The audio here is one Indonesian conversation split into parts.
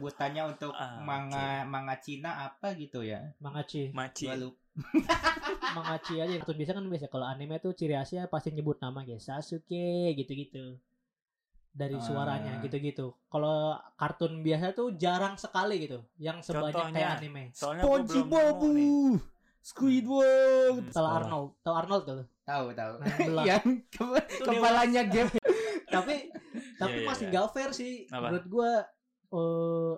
sebutannya untuk Ah, manga manga Cina apa gitu ya? Mangachi. Maci. Gua lupa. Mangachi aja. Terus biasa kan biasa kalau anime tuh ciri khasnya pasti nyebut nama kayak Sasuke gitu-gitu. Dari Ah. suaranya gitu-gitu. Kalau kartun biasa tuh jarang sekali gitu yang sebanyak Contohnya, kayak anime. Soalnya gua belum nemu nih. Hmm, Squidward. Kalau sekolah. Iya. Arnold, tahu Arnold tuh? Tahu tahu. Nah, belah. yang ke- Itu kepalanya game tapi Iya, tapi iya, masih iya. nggak fair sih Apa? menurut gua eh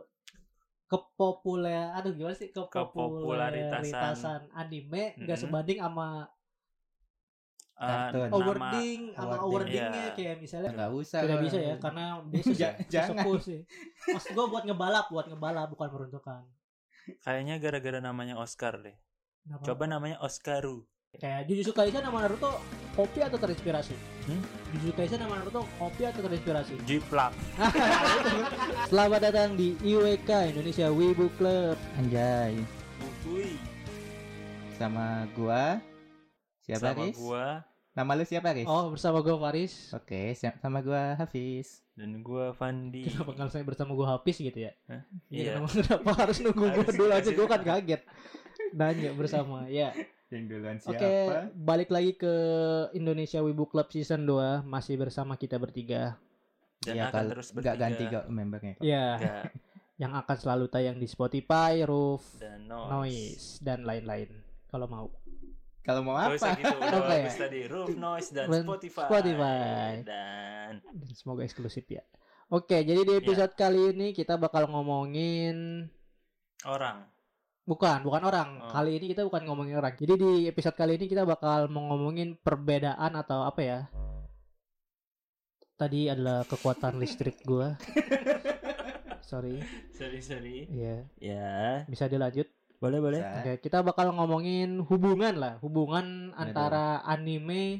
kepopuler aduh gimana sih Kepopularitasan. kepopularitasan anime nggak Mm-mm. sebanding sama Eh, Kan? Kartun. nama- awarding sama awarding, awardingnya iya. kayak misalnya nggak usah. tidak gua. bisa ya karena dia susah Eh, Ja- jangan. sih maksud gua buat ngebalap buat ngebalap bukan meruntuhkan Kayaknya gara-gara namanya Oscar deh. Kenapa? Coba namanya Oscaru. kayak Jujutsu Kaisen sama Naruto kopi atau terinspirasi Hmm? Jujutsu Kaisen sama Naruto kopi atau terinspirasi Jiplak. selamat datang di IWK Indonesia Wibu Club Anjay. Bukui. Sama gua siapa Sama Riz? gua Nama lu siapa Riz? Oh bersama gue Faris Oke, siap sama gua Hafiz. dan gua Fandi. Kenapa kalau saya bersama gue Hafiz gitu ya Iya. kenapa, kenapa harus nunggu gue Harus- dulu aja harus- Gue kan kaget Nanya bersama ya Yang duluan siapa? Oke balik lagi ke Indonesia Wibu Club Season 2 Masih bersama kita bertiga Dan Iya, akan kalau- terus nggak ganti bertiga. kok membernya. kok. Ya Nggak. yang akan selalu tayang di Spotify, Roof, Dan noise. Noise, dan lain-lain Kalau mau Kalau mau Gak usah apa? gitu udah Apa ya? bagus tadi Roof Noise dan Dan Spotify, Spotify. dan Dan semoga eksklusif ya Oke Iya. jadi di episode kali ini kita bakal ngomongin orang Bukan, bukan orang. Oh. Kali ini kita bukan ngomongin orang. Jadi di episode kali ini kita bakal mau ngomongin perbedaan atau apa ya? Tadi adalah kekuatan listrik gua. Sorry. sorry sorry Iya, ya bisa dilanjut. boleh boleh Bisa. Oke, kita bakal ngomongin hubungan lah, hubungan antara anime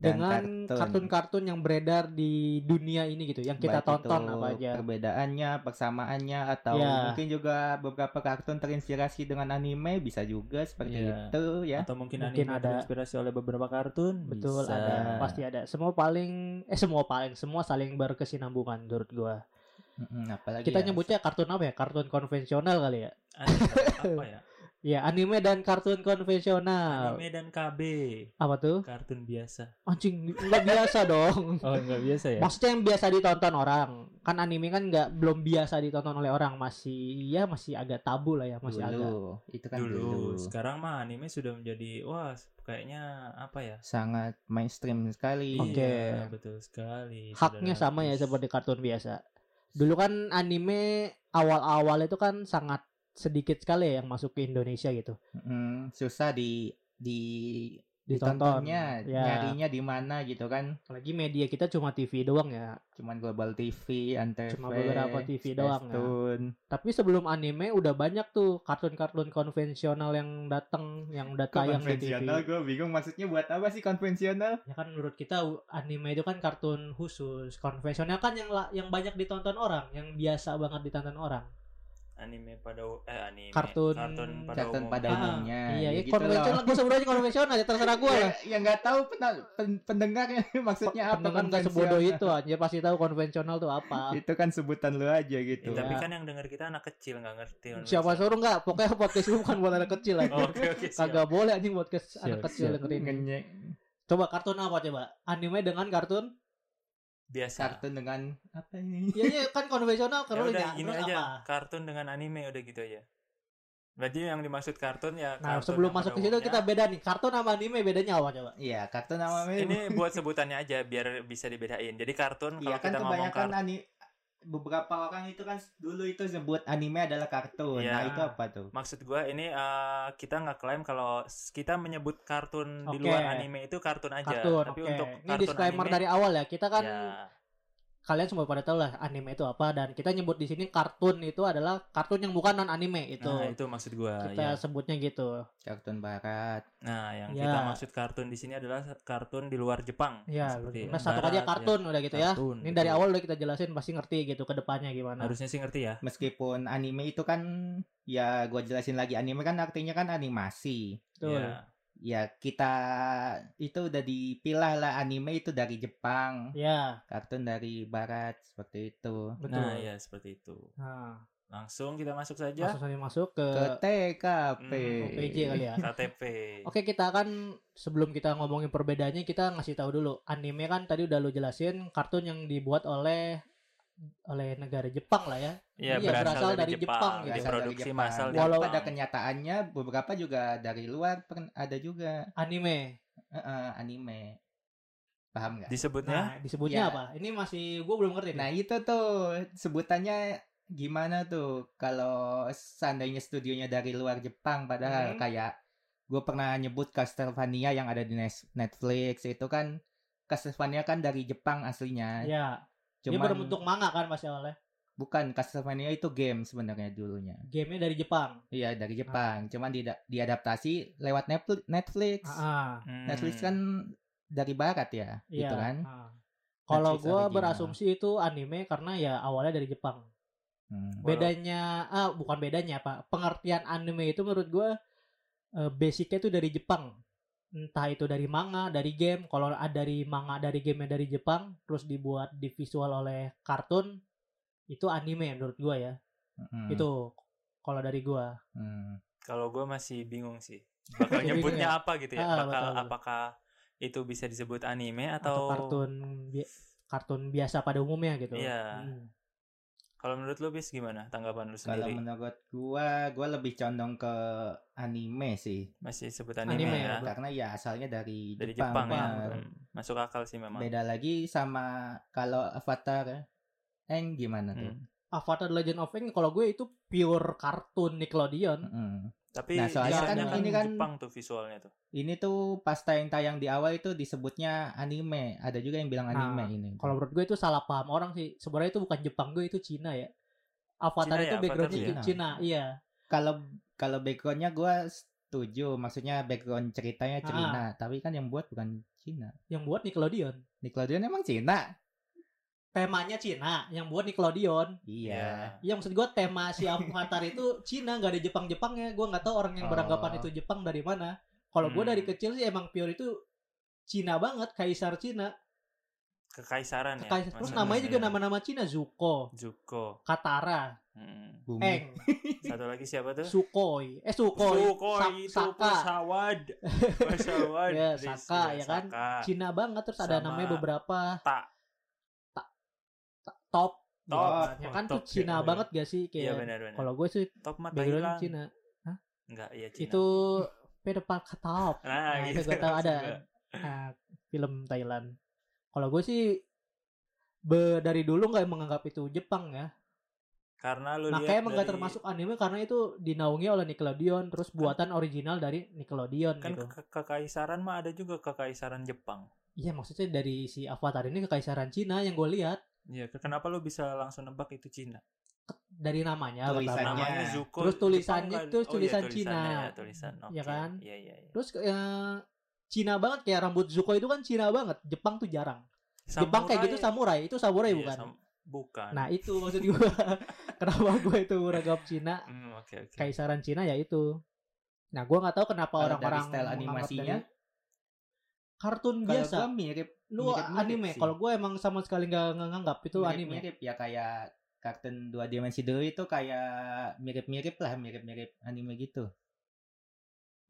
Dan dengan kartun. kartun-kartun yang beredar di dunia ini gitu, yang kita Baik tonton itu apa aja. perbedaannya persamaannya atau Ya. mungkin juga beberapa kartun terinspirasi dengan anime bisa juga seperti Iya. itu ya atau mungkin, Mungkin anime ada- terinspirasi oleh beberapa kartun Betul Bisa. ada pasti ada semua paling eh semua paling semua saling berkesinambungan menurut gua. Mm-mm, apalagi Kita ya, nyebutnya kartun apa ya? Kartun konvensional kali ya. Anime apa ya Ya anime dan kartun konvensional. anime dan KB Apa tuh? kartun biasa Anjing nggak biasa dong. oh nggak biasa Iya. ya Maksudnya yang biasa ditonton orang. Kan anime kan nggak belum biasa ditonton oleh orang masih ya masih agak tabu lah ya masih dulu agak. itu kan dulu, dulu sekarang mah anime sudah menjadi wah kayaknya apa ya sangat mainstream sekali Oke. Iya, betul sekali Haknya saudara sama ya Hafiz. seperti kartun biasa. Dulu kan anime awal-awal itu kan sangat sedikit sekali ya yang masuk ke Indonesia gitu. Mm-mm, susah di di Ditonton. ditontonnya Ya, nyarinya di mana gitu kan apalagi media kita cuma TV doang ya. cuman global TV antv Cuma beberapa TV doang ya. Spacetoon. Tapi sebelum anime udah banyak tuh kartun-kartun konvensional yang datang, yang udah Kok tayang di TV. konvensional gue bingung maksudnya buat apa sih konvensional Ya kan menurut kita u- anime itu kan kartun khusus, konvensional kan yang la- yang banyak ditonton orang, yang biasa banget ditonton orang. anime pada eh anime Kartun- pada Kartun umum. pada Ah, umumnya iya, ya, gitu loh. konvensional gue sebut aja konvensional ya terserah gue lah. ya, ya nggak tahu pena- pen- pendengarnya maksudnya apa kan Pendengar nggak sebodoh ya? Ah. itu aja pasti tahu konvensional tuh Gitu. apa. itu kan sebutan lu aja Ya, gitu tapi Ya. kan yang dengar kita anak kecil nggak ngerti. Siapa Oke suruh nggak? Pokoknya podcast lu bukan buat anak kecil aja. oke. Oh, siap. Kagak boleh anjing podcast Siap, anak kecil siap. dengerin. Ngenyek. Coba kartun apa coba? Anime dengan kartun? Biasa. kartun dengan apa ini Iya iya kan konvensional Ya kalau udah ini gini terus aja. apa? Kartun dengan anime udah gitu aja. Berarti yang dimaksud kartun ya. Nah, kartun sebelum yang masuk pada ke situ umumnya. kita beda nih. Kartun sama anime bedanya apa coba? iya kartun nama Ini buat sebutannya aja biar bisa dibedain. Jadi kartun iya kalau kan kita ngomong kebanyakan kartun. ani beberapa orang itu kan dulu itu sebut anime adalah kartun Iya. nah itu apa tuh Maksud gua ini eh, kita nggak klaim kalau s- kita menyebut kartun di Oke. luar anime itu kartun aja. Iya, Kartun. Tapi oke. untuk ini kartun disclaimer anime, dari awal ya. Kita kan ya, kalian semua pada tahu lah anime itu apa dan kita nyebut di sini kartun itu adalah kartun yang bukan non anime itu. nah, itu maksud gua. ya. Gitu. kita sebutnya gitu. kartun barat Nah, yang Ya. kita maksud kartun di sini adalah kartun di luar Jepang. Ya, Seperti nah satu barat, aja kartun udah gitu ya. Kartun, Ini gitu. dari awal udah kita jelasin pasti ngerti gitu ke depannya gimana. harusnya sih ngerti ya. meskipun anime itu kan ya gua jelasin lagi anime kan artinya kan animasi Betul. Iya. ya kita itu udah dipilah lah anime itu dari Jepang, Ya, kartun dari barat seperti itu. betul. Nah, ya seperti itu. Nah, Langsung kita masuk saja langsung saja masuk ke Ke TKP. Hmm, OPJ kali ya. KTP. Oke, kita kan sebelum kita ngomongin perbedaannya, kita ngasih tahu dulu. Anime kan tadi udah lo jelasin kartun yang dibuat oleh oleh negara Jepang lah ya. Iya, Iya, berasal dari Jepang, Berasal gitu. dari diproduksi Jepang. massal di Walau Walau- pada Jepang. kenyataannya beberapa juga dari luar pern- ada juga Anime. Heeh, anime. Paham nggak? Disebutnya Nah, disebutnya Iya. apa? Ini masih gue belum ngerti. nih. Nah itu tuh sebutannya gimana tuh kalau seandainya studionya dari luar Jepang padahal Hmm. kayak gue pernah nyebut Castlevania yang ada di Nes- Netflix itu kan Castlevania kan dari Jepang aslinya. ya, dia Cuman berbentuk manga kan pasti awalnya. bukan Castlevania itu game sebenarnya dulunya. Gamenya dari Jepang. Iya dari Jepang. Cuman di diadaptasi lewat Nepl- Netflix. Ah, Hmm. Netflix kan dari barat ya, iya. gitu kan. ah. Kalau Netflix gue original. berasumsi itu anime karena ya awalnya dari Jepang. Ah. Hmm. Walau- bedanya ah bukan bedanya apa pengertian anime itu menurut gue basicnya itu dari Jepang entah itu dari manga dari game kalau ada dari manga dari game dari Jepang terus dibuat di visual oleh kartun itu anime menurut gue ya Hmm. itu kalau dari gue Hmm. Kalau gue masih bingung sih. Bakal Masih nyebutnya bingung apa gitu ya? Iya, Ah, Bakal betul. apakah itu bisa disebut anime atau atau, kartun bi- kartun biasa pada umumnya gitu Iya. Hmm. Kalau menurut lu bis gimana tanggapan lu Kalau sendiri? menurut gua, gua lebih condong ke anime sih. Masih disebut anime, Anime ya? ya, Bang. Karena ya asalnya dari, Dari Jepang. Jepang, ya. benar. Bang. Hmm. Masuk akal sih memang. Beda lagi sama kalau Avatar Eng gimana tuh? Hmm. Avatar The Legend of Aang kalau gue itu pure kartun Nickelodeon Mm-mm. Tapi Nah, soalnya biasanya kan kan ini kan- Jepang tuh visualnya tuh. Ini tuh pas tayang-tayang di awal itu disebutnya anime. Ada juga yang bilang anime Nah, ini. Kalau menurut gue itu salah paham orang sih. Sebenarnya itu bukan Jepang gue itu Cina ya. Avatar Cina ya, itu Avatar backgroundnya Cina. Cina. Cina, iya. kalau kalau backgroundnya gua setuju. Maksudnya background ceritanya Ah. Cina, tapi kan yang buat bukan Cina. Yang buat Nickelodeon. Nickelodeon emang Cina? Temanya Cina, yang buat Nickelodeon. Iya. Iya maksud gue tema si Avatar itu Cina, nggak ada Jepang-Jepangnya. Gue nggak tahu orang Oh. yang beranggapan itu Jepang dari mana. Kalau gue Hmm. dari kecil sih emang pure itu Cina banget, kaisar Cina. Kekaisaran ya. Kaisar. Terus maksudnya. namanya juga nama-nama Cina, Zuko, Zuko. Katara, Hmm. Bumi. Eng, Satu lagi siapa tuh? Sukoi, eh Sukoi, Sa- itu pesawat. Pesawat. Ya, Riz. Saka, ya kan? Saka. Cina banget terus ada Sama namanya beberapa Ta. Ta- ta- top Top. ya Oh, kan tuh top, Cina iya, banget gak sih Iya kayak benar benar. kalau gue sih Top mata background hilang. Cina. Enggak, iya Cina. itu pedepal ke top Nah, nah, itu gitu. gue tahu ada Juga. nah, film Thailand kalau gue sih be- dari dulu nggak menganggap itu Jepang ya Karena lu makanya lihat emang nggak dari- termasuk anime karena itu dinaungi oleh Nickelodeon terus buatan original dari Nickelodeon kan gitu ke- kekaisaran mah ada juga kekaisaran Jepang. iya maksudnya dari si Avatar ini kekaisaran Cina yang gue lihat Iya, ke- kenapa lu bisa langsung nebak itu Cina? dari namanya pertama. Tulisannya. Namanya Zuko. Terus tulisannya- Jepang kan- terus oh, iya, tulisan tulisannya Cina. Ya, tulisan. Oke. Iya kan? Iya, iya, iya. Terus eh, Cina banget kayak rambut Zuko itu kan Cina banget. Jepang tuh jarang. Jepang kayak gitu samurai, itu samurai Iya, bukan? sam- bukan. Nah, itu maksud gua. Kenapa gua itu menganggap Cina Hmm, oke oke. kaisaran Cina ya itu. Nah, gua nggak tahu kenapa Kalau orang-orang dari style menganggap animasinya? dari- kartun Kalau biasa. gua mirip Lu mirip-mirip anime. sih. Kalau gua emang sama sekali nggak nggak nganggap itu anime. mirip-mirip ya kayak kartun dua dimensi dulu itu kayak mirip-mirip lah mirip-mirip anime gitu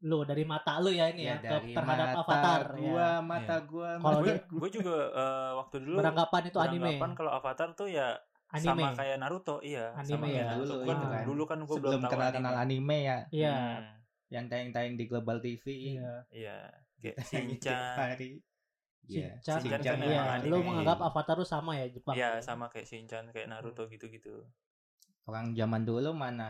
Lu dari mata lu ya ini ya, ke- terhadap avatar Iya, gua ya. mata gua Kalau mata dia- gua. Gue juga eh, waktu dulu Beranggapan itu anime. beranggapan kalau Avatar tuh ya Anime. sama kayak Naruto, iya. Anime sama kayak ya. Naruto. Dulu Gua- itu kan. Dulu kan gue belum sebelum tahu kenal kenal anime. anime ya Iya. Hmm, yang tayang-tayang di Global TV Iya. Iya. Kayak Tayang tiap Shinchan. hari. Iya, Shinchan, Shinchan Shinchan kan ya, iya. emang Lu anime. menganggap Avatar lu sama ya Jepang. Iya, sama kayak Shinchan, kayak Hmm. Naruto gitu-gitu. orang zaman dulu mana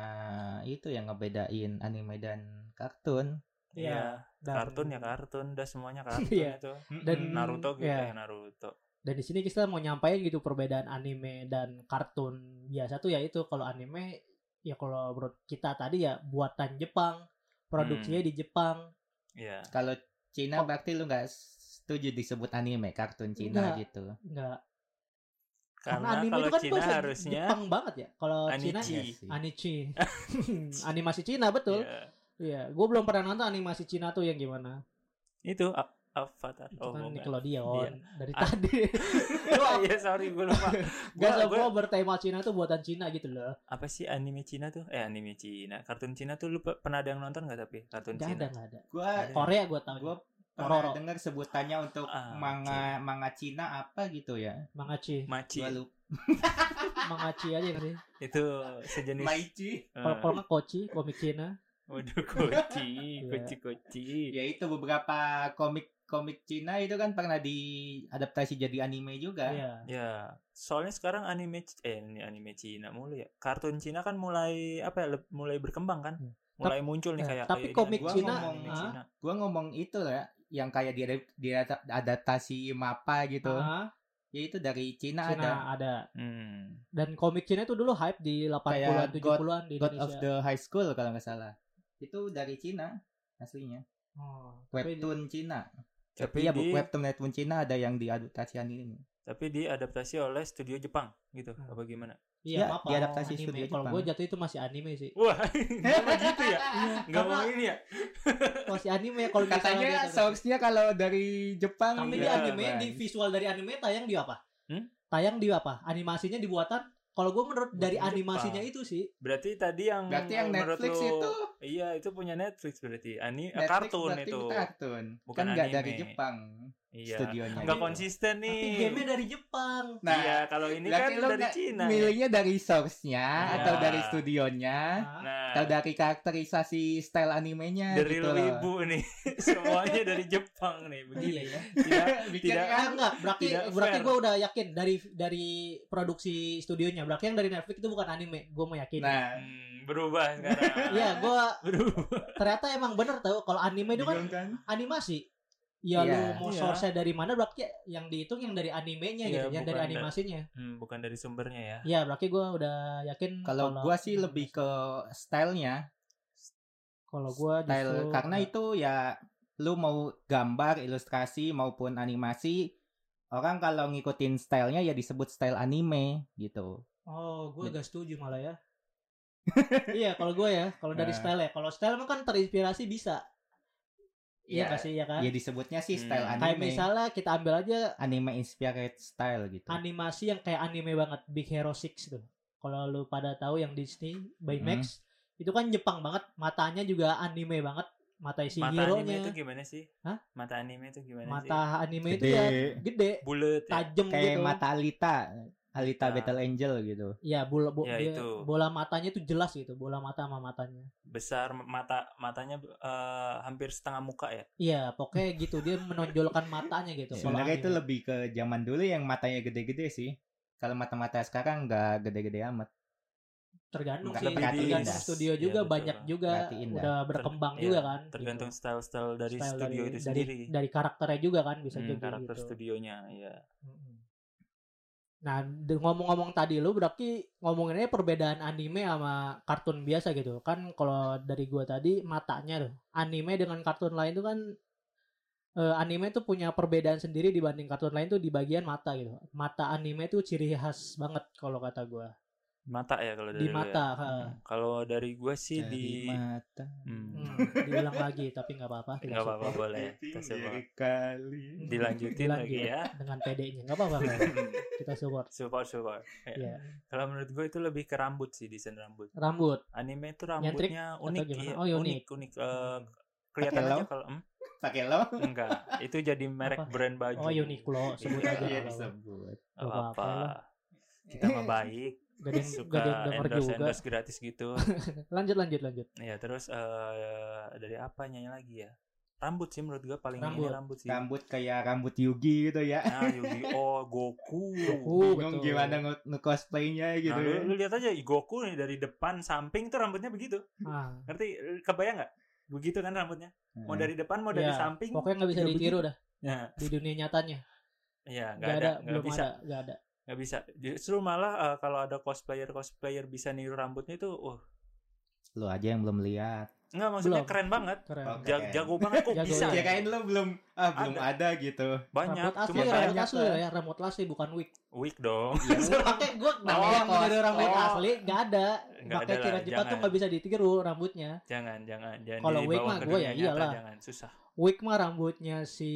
itu yang ngebedain anime dan kartun Iya. Dan- kartun ya kartun, udah semuanya kartun Iya. itu. Dan- Naruto gitu ya Iya. Naruto. dan di sini kita mau nyampain gitu perbedaan anime dan kartun biasa tuh ya itu kalau anime ya kalau menurut kita tadi ya buatan Jepang produksinya Hmm. di Jepang Iya. kalau Cina Oh. berarti lu nggak setuju disebut anime kartun Cina Nggak. gitu nggak Karena karena, anime kalau itu kan Cina bahasa harusnya Iya Jepang banget ya kalau Cina Anichi. sih. Anichi animasi Cina betul Iya. Iya, gue belum pernah nonton animasi Cina tuh yang gimana. Itu A- Avatar. Itu Oh, kan bukan. Nickelodeon Iya. dari Ah. tadi. Oh, iya, sorry gue lupa. Gak Gua- gua- semua bertema Cina tuh buatan Cina gitu loh. apa sih anime Cina tuh? Eh anime Cina, kartun Cina tuh lu pe- pernah ada yang nonton nggak tapi kartun Gak Cina? ada, gak ada. Gua Korea ya. gue tau. Eh, gua Roro. pernah dengar sebutannya untuk Ah, manga manga Cina apa gitu ya. Mangachi. Maci Gua lupa. Mangachi aja nggak sih. Eh. itu sejenis. Maichi. Eh, Kalau kalau nggak Kochi, komik Cina. waduh koci, Iya. koci koci. Ya itu beberapa komik komik Cina itu kan pernah diadaptasi jadi anime juga. Iya. Ya, soalnya sekarang anime C- eh ini anime Cina mulu ya. Kartun Cina kan mulai apa ya? le- Mulai berkembang kan? Hmm. Mulai muncul nih eh, kayak tapi kayak komik gini. Cina, anime ah. Cina. Gua ngomong itu lah ya, yang kayak diadap- diadaptasi mapa gitu. Ah, Ya itu dari Cina, Cina ada ada. Hmm. Dan komik Cina itu dulu hype di 80-an, Kayak 70-an di God of Indonesia. the High School kalau nggak salah. Itu dari Cina aslinya. Oh, tapi- Webtoon Cina. Tapi iya, di bu, webtoon webtoon Cina ada yang diadaptasi anime. tapi diadaptasi oleh studio Jepang gitu. Hmm. Apa gimana? Ya, Iya, apa diadaptasi studio anime. Kalau Jepang. gue jatuh itu masih anime sih. Wah, gimana gitu ya? Gak karena- mau ini ya? Masih anime ya kalau misalnya Katanya dia- source-nya kalau dari Jepang Tapi Iya, di anime, Bang. di visual dari anime tayang di apa? Hmm? Tayang di apa? Animasinya dibuatan? Kalau gue menurut dari Buatan animasinya Jepang. itu sih. Berarti tadi yang Berarti yang menurut Netflix lu- itu Iya, itu punya Netflix berarti. Ani eh, Netflix kartun berarti itu. kartun. Bukan kan nggak anime. dari Jepang Iya. studionya. Enggak Gitu. konsisten nih. Tapi game-nya dari Jepang. Nah, iya, kalau ini kan berarti lu dari nggak- Cina. ya. Milihnya dari source-nya Iya. atau dari studionya Ah, Nah, atau dari karakterisasi style animenya dari gitu loh. ibu nih. Semuanya dari Jepang nih, Ah, begini. iya ya. Tidak Bikin Tidak- kan Ah, enggak, berarti Tidak berarti fair. gue udah yakin dari dari produksi studionya. Berarti yang dari Netflix itu bukan anime. Gue meyakin. Nah, hmm, berubah sekarang. Iya, gue berubah. ternyata emang bener tau. Kalau anime itu kan bingung kan? animasi. Iya. Ya lu mau Iya. source dari mana berarti yang dihitung yang dari animenya Iya, gitu, yang dari bukan dari- animasinya. Hmm, bukan dari sumbernya ya. Ya, berarti gue udah yakin Kalau gua sih lebih ke stylenya, kalau gua style justru karena nggak- itu ya lu mau gambar, ilustrasi maupun animasi orang kalau ngikutin stylenya ya disebut style anime gitu. Oh, gue Jadi- agak setuju malah ya. iya, kalau gue ya, kalau dari Nah. style ya, kalau style mah kan terinspirasi bisa. Iya pasti ya kan. Ya disebutnya sih style Hmm. anime. Kayak misalnya kita ambil aja anime inspired style gitu. animasi yang kayak anime banget, Big Hero 6 tuh. Kalau lu pada tahu yang Disney Baymax, Hmm. itu kan Jepang banget, matanya juga anime banget, mata isi Mata anime itu hero-nya, gimana sih? Hah? Mata anime itu gimana sih? mata anime itu ya gede, Bulat ya. tajam Kayak gitu. mata Alita, Alita Nah. Battle Angel gitu. ya bola bo- Ya, dia- itu. bola matanya tuh jelas gitu, bola mata sama matanya. besar mata matanya eh, hampir setengah muka ya. Iya, pokoknya gitu dia menonjolkan matanya gitu. Iya. Kalau Sebenarnya itu anime. lebih ke zaman dulu yang matanya gede-gede sih. Kalau mata-mata sekarang nggak gede-gede amat. tergantung Nggak ya. sih, tergantung tergantung indah. studio Iya, juga betul, banyak Bang. juga Berarti indah. udah berkembang Ter- juga iya, kan. Tergantung gitu. style-style dari Style studio itu dari, sendiri. dari karakternya juga kan bisa Hmm, juga karakter gitu. studionya ya. Mm-mm. Nah, de- ngomong-ngomong tadi lu berarti ngomonginnya perbedaan anime sama kartun biasa gitu. Kan kalau dari gua tadi matanya tuh. Anime dengan kartun lain tuh kan eh, anime tuh punya perbedaan sendiri dibanding kartun lain tuh di bagian mata gitu. Mata anime tuh ciri khas banget kalau kata gua. Mata ya kalau dari lu Di ya. mata, Hmm. heeh. Kalau dari gua sih Dari di mata. Hmm, Hmm, diulang lagi tapi nggak apa-apa. nggak apa-apa boleh. Kita coba Tinggi kali. dilanjutin lagi Dilanjut. ya. Hmm. dengan PD-nya nggak apa-apa. nggak apa-apa. Kita support. Support support. Ya. Iya. Kalau menurut gua itu lebih ke rambut sih desain rambut. Rambut. Anime itu Nyentrik rambutnya unik gimana? ya. Oh, iya, unik unik. Eh, kelihatan Pakai aja long? kalau hmm? Pakai lo? enggak. Itu jadi merek Apa? brand baju. Oh, Uniqlo sebut Iya, aja. iya, nggak apa-apa. disebut. Nggak apa-apa. Apa-apa lah. Kita mah baik. Gak ada yang, suka gak ada yang denger endorse juga. endorse gratis gitu Lanjut lanjut lanjut. ya terus eh dari apa nyanyi lagi ya rambut sih menurut gua paling ini Rambut. rambut sih Rambut kayak rambut Yugi gitu ya. nah Yu-Gi-Oh Goku Goku. Oh, Bingung betul. gimana nge- nge-cosplaynya gitu ya. nah, lu, lu lihat aja Goku nih dari depan samping tuh rambutnya begitu Ah, ngerti kebayang nggak begitu kan rambutnya Nah, mau dari depan mau dari Iya, samping pokoknya nggak bisa Iya, ditiru dah nah di dunia nyatanya. ya nggak ada Gak ada, nggak belum bisa ada, gak ada. nggak bisa justru malah eh, kalau ada cosplayer cosplayer bisa niru rambutnya itu uh Lu aja yang belum lihat. Enggak maksudnya Belum. keren banget. Keren. Oke. Ja- Jago banget kok Jago, bisa. Iya. Kirain lu belum ah belum ada, gitu. Banyak. Rambut asli, ya, Cuma kayak rambut banyak, asli Pak. ya, rambut asli bukan wig. weak dong. Iya, lu- Pakai gua namanya Oh, kalau ada rambut oh. asli nggak ada. Nggak Pakai ada lah, tiran cepat tuh jangan. nggak bisa ditiru rambutnya. Jangan, jangan, jangan Kalau dibawa weak mah ke gua dunia ya nyata, iyalah. Jangan, susah. Wig mah rambutnya si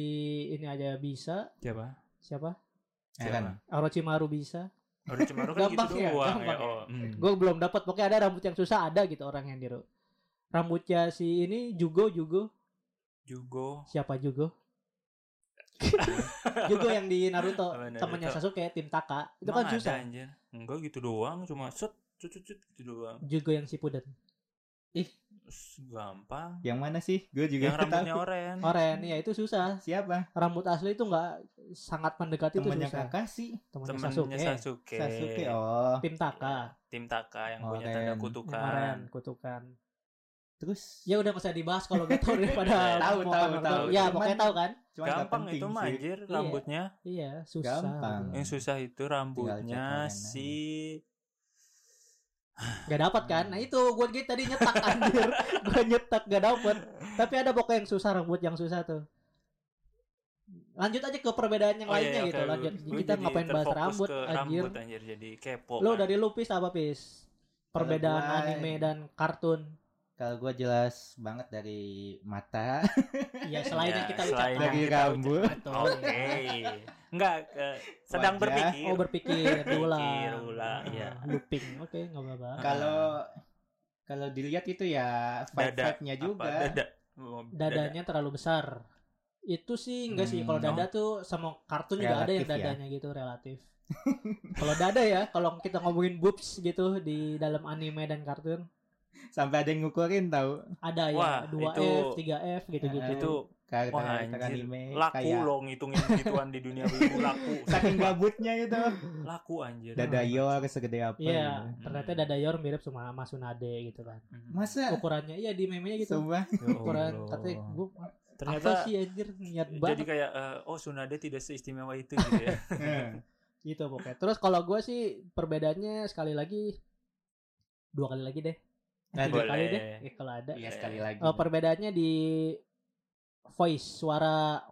ini aja bisa. Siapa? Siapa? Eren. Orochimaru bisa. Udah cuma kan Gampang gitu ya, doang ya. gampang ya. Oh, mm. Gue belum dapat. Pokoknya ada rambut yang susah ada gitu orang yang niru. Rambutnya si ini Jugo Jugo Jugo. siapa Jugo? Jugo yang di Naruto Apa Naruto? Oh, temennya Sasuke tim Taka itu Emang kan ada, susah. anjir. Enggak gitu doang, cuma set cut cut cut gitu doang. Jugo yang Shippuden. Us, Gampang. Yang mana sih? Gue juga Yang nggak tahu. rambutnya oren. Oren ya itu susah. Siapa? Rambut asli itu nggak sangat mendekati itu Temennya susah. Kakashi. Temennya Sasuke. Temennya Sasuke. Sasuke. Oh, Tim Taka. Tim Taka Oh, yang Oren. punya tanda Yang kutukan. Oren kutukan. terus Ya udah nggak usah dibahas kalau nggak tahu daripada Tahu, mau tahu, ngomong- tahu. Ya Cuman- pokoknya tahu kan? Cuman nggak Gampang penting itu mah sih. anjir Iya. rambutnya. Iya susah. Gampang. Yang susah itu rambutnya cek si Gak dapat kan? Nah itu gue gitu tadi nyetak anjir. gue nyetak gak dapet. Tapi ada pokoknya yang susah rambut yang susah tuh. Lanjut aja ke perbedaan yang Oh, iya, lainnya iya, gitu. oke. Lanjut. Gua Kita jadi ngapain bahas terfokus rambut ke anjir. rambut ya. anjir jadi kepo. Lo kan. dari lu pis apa pis? Perbedaan gua- ya. anime dan kartun. Kalau gue jelas banget dari mata, Iya selain Ya, yang kita Oh, selain ucapkan. yang dari kita rambut, Betul. Oke. Enggak eh, sedang Wajah. berpikir. Oh berpikir Pikir, ulang. ulang, iya. Ah, Looping. Oke nggak apa-apa. kalau kalau dilihat itu ya Dada. vibe-vibe-nya Apa? juga. Dada. Oh, dada. dadanya terlalu besar itu sih enggak sih Hmm, kalau dada tuh sama kartun juga ada Relatif yang ya. dadanya gitu relatif kalau dada ya kalau kita ngomongin boobs gitu di dalam anime dan kartun Sampai ada yang ngukurin tau ada Wah, ya 2F itu- 3F gitu-gitu Eh, Itu Wah, karakter anjir. anime laku kayak loh ngitungin gituan di dunia wibu laku. saking gabutnya itu. laku anjir. Dada Yor segede apa Iya, gitu. ternyata dada Yor mirip sama Mas Sunade gitu kan. Hmm. Masa Ukurannya iya di meme-nya gitu. Sumpah Ukuran Oh, katanya iya. gua Ya ternyata apa sih anjir niat jadi banget kayak eh, oh Sunade tidak seistimewa itu gitu ya. gitu pokoknya. Terus kalau gua sih perbedaannya sekali lagi dua kali lagi deh. Nah, Tiga kali boleh. deh. Eh, kalau ada. Iya sekali lagi Eh, perbedaannya di voice suara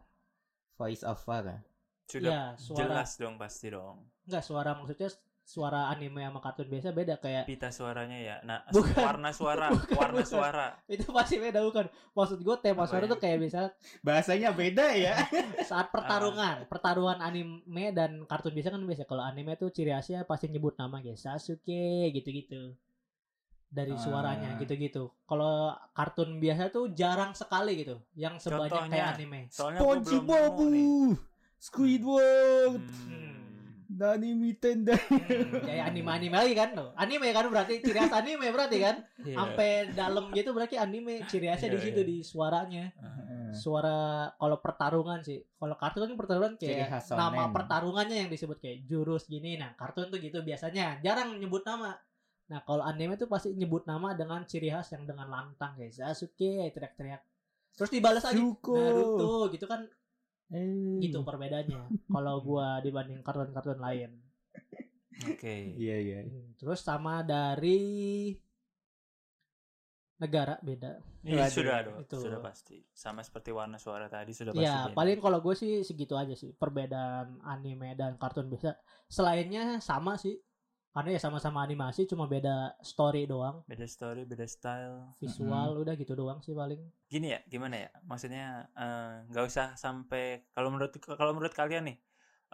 Voice over Sudah ya suara jelas dong pasti dong. enggak suara maksudnya suara anime sama kartun biasa beda kayak Pita suaranya ya. Nah, Bukan. warna suara, Bukan, warna bukan. suara. itu pasti beda bukan maksud gue tema Apa suara ya? tuh kayak misalnya Bahasanya beda ya Ah. saat pertarungan pertarungan anime dan kartun biasa kan biasa kalau anime tuh ciri khasnya pasti nyebut nama kayak Sasuke gitu-gitu dari Ah. suaranya gitu-gitu kalau kartun biasa tuh jarang sekali gitu yang sebanyak Contohnya. kayak anime Soalnya Nah, gua belum SpongeBob nemu nih. Squidward Hmm. Nani Mitenda kayak anime-anime lagi kan tuh anime kan berarti ciri khas anime berarti kan Iya. sampai dalam gitu berarti anime ciri khasnya di Iya, situ iya. di suaranya Nah. suara kalau pertarungan sih kalau kartun kan pertarungan Ciri kayak khas shonen. nama pertarungannya yang disebut kayak jurus gini nah kartun tuh gitu biasanya jarang nyebut nama nah kalau anime tuh pasti nyebut nama dengan ciri khas yang dengan lantang kayak Sasuke teriak-teriak terus dibalas lagi Zuko Naruto gitu kan Eh. gitu perbedaannya kalau gua dibanding kartun-kartun lain Oke. Iya iya Hmm, terus sama dari negara beda Waduh, Iya, sudah dong, itu. sudah pasti. Sama seperti warna suara tadi sudah pasti. Ya beda. paling kalau gue sih segitu aja sih perbedaan anime dan kartun biasa. Selainnya sama sih, karena ya sama-sama animasi cuma beda story doang, beda story, beda style. visual udah gitu doang sih paling. Gini ya, gimana ya? Maksudnya eh, nggak usah sampai kalau menurut kalau menurut kalian nih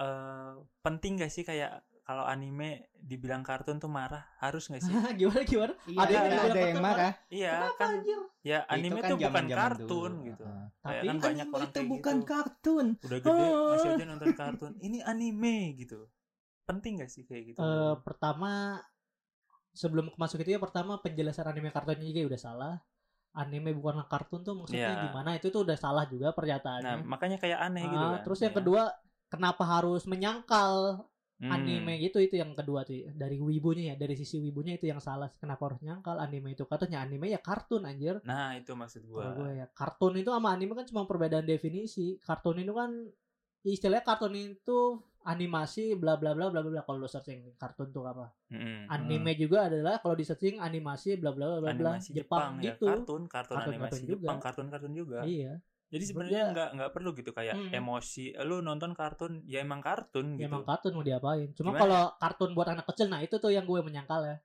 eh, penting gak sih kayak kalau anime dibilang kartun tuh marah harus nggak sih? gimana Iya, gimana? ada, Ada yang ada bilang yang pertama. marah. iya Kenapa, kan anjir? ya anime Itu kan tuh bukan zaman-zaman kartun dulu. gitu. Heeh. Kayak Tapi kan banyak Anime orang itu kayak bukan gitu. kartun. Udah gede Oh. masih aja nonton kartun. Ini anime gitu. Penting gak sih kayak gitu? eh, pertama sebelum masuk itu ya pertama penjelasan anime kartunnya juga ya udah salah. Anime bukan kartun tuh maksudnya Iya. gimana? Itu tuh udah salah juga nah, pernyataannya. makanya kayak aneh Ah, gitu kan. terus yang ya. kedua kenapa harus menyangkal Hmm. anime gitu itu yang kedua tuh dari wibunya ya dari sisi wibunya itu yang salah kenapa harus nyangkal anime itu katanya anime ya kartun anjir Nah, itu maksud Kalau gua. gue ya kartun itu sama anime kan cuma perbedaan definisi kartun itu kan istilahnya kartun itu animasi bla bla bla bla bla kalau lu searching kartun tuh apa Mm-mm. anime juga adalah kalau di searching animasi bla bla bla bla bla Hmm. animasi Jepang, ya, gitu kartun, kartun Kartun-kartun animasi juga. Jepang, kartun-kartun juga. iya Jadi Menurut sebenarnya dia- nggak nggak perlu gitu kayak Mm. emosi. eh, Lu nonton kartun, ya emang kartun gitu. ya emang kartun mau diapain cuma Gimana? kalau kartun buat anak kecil nah itu tuh yang gue menyangkal ya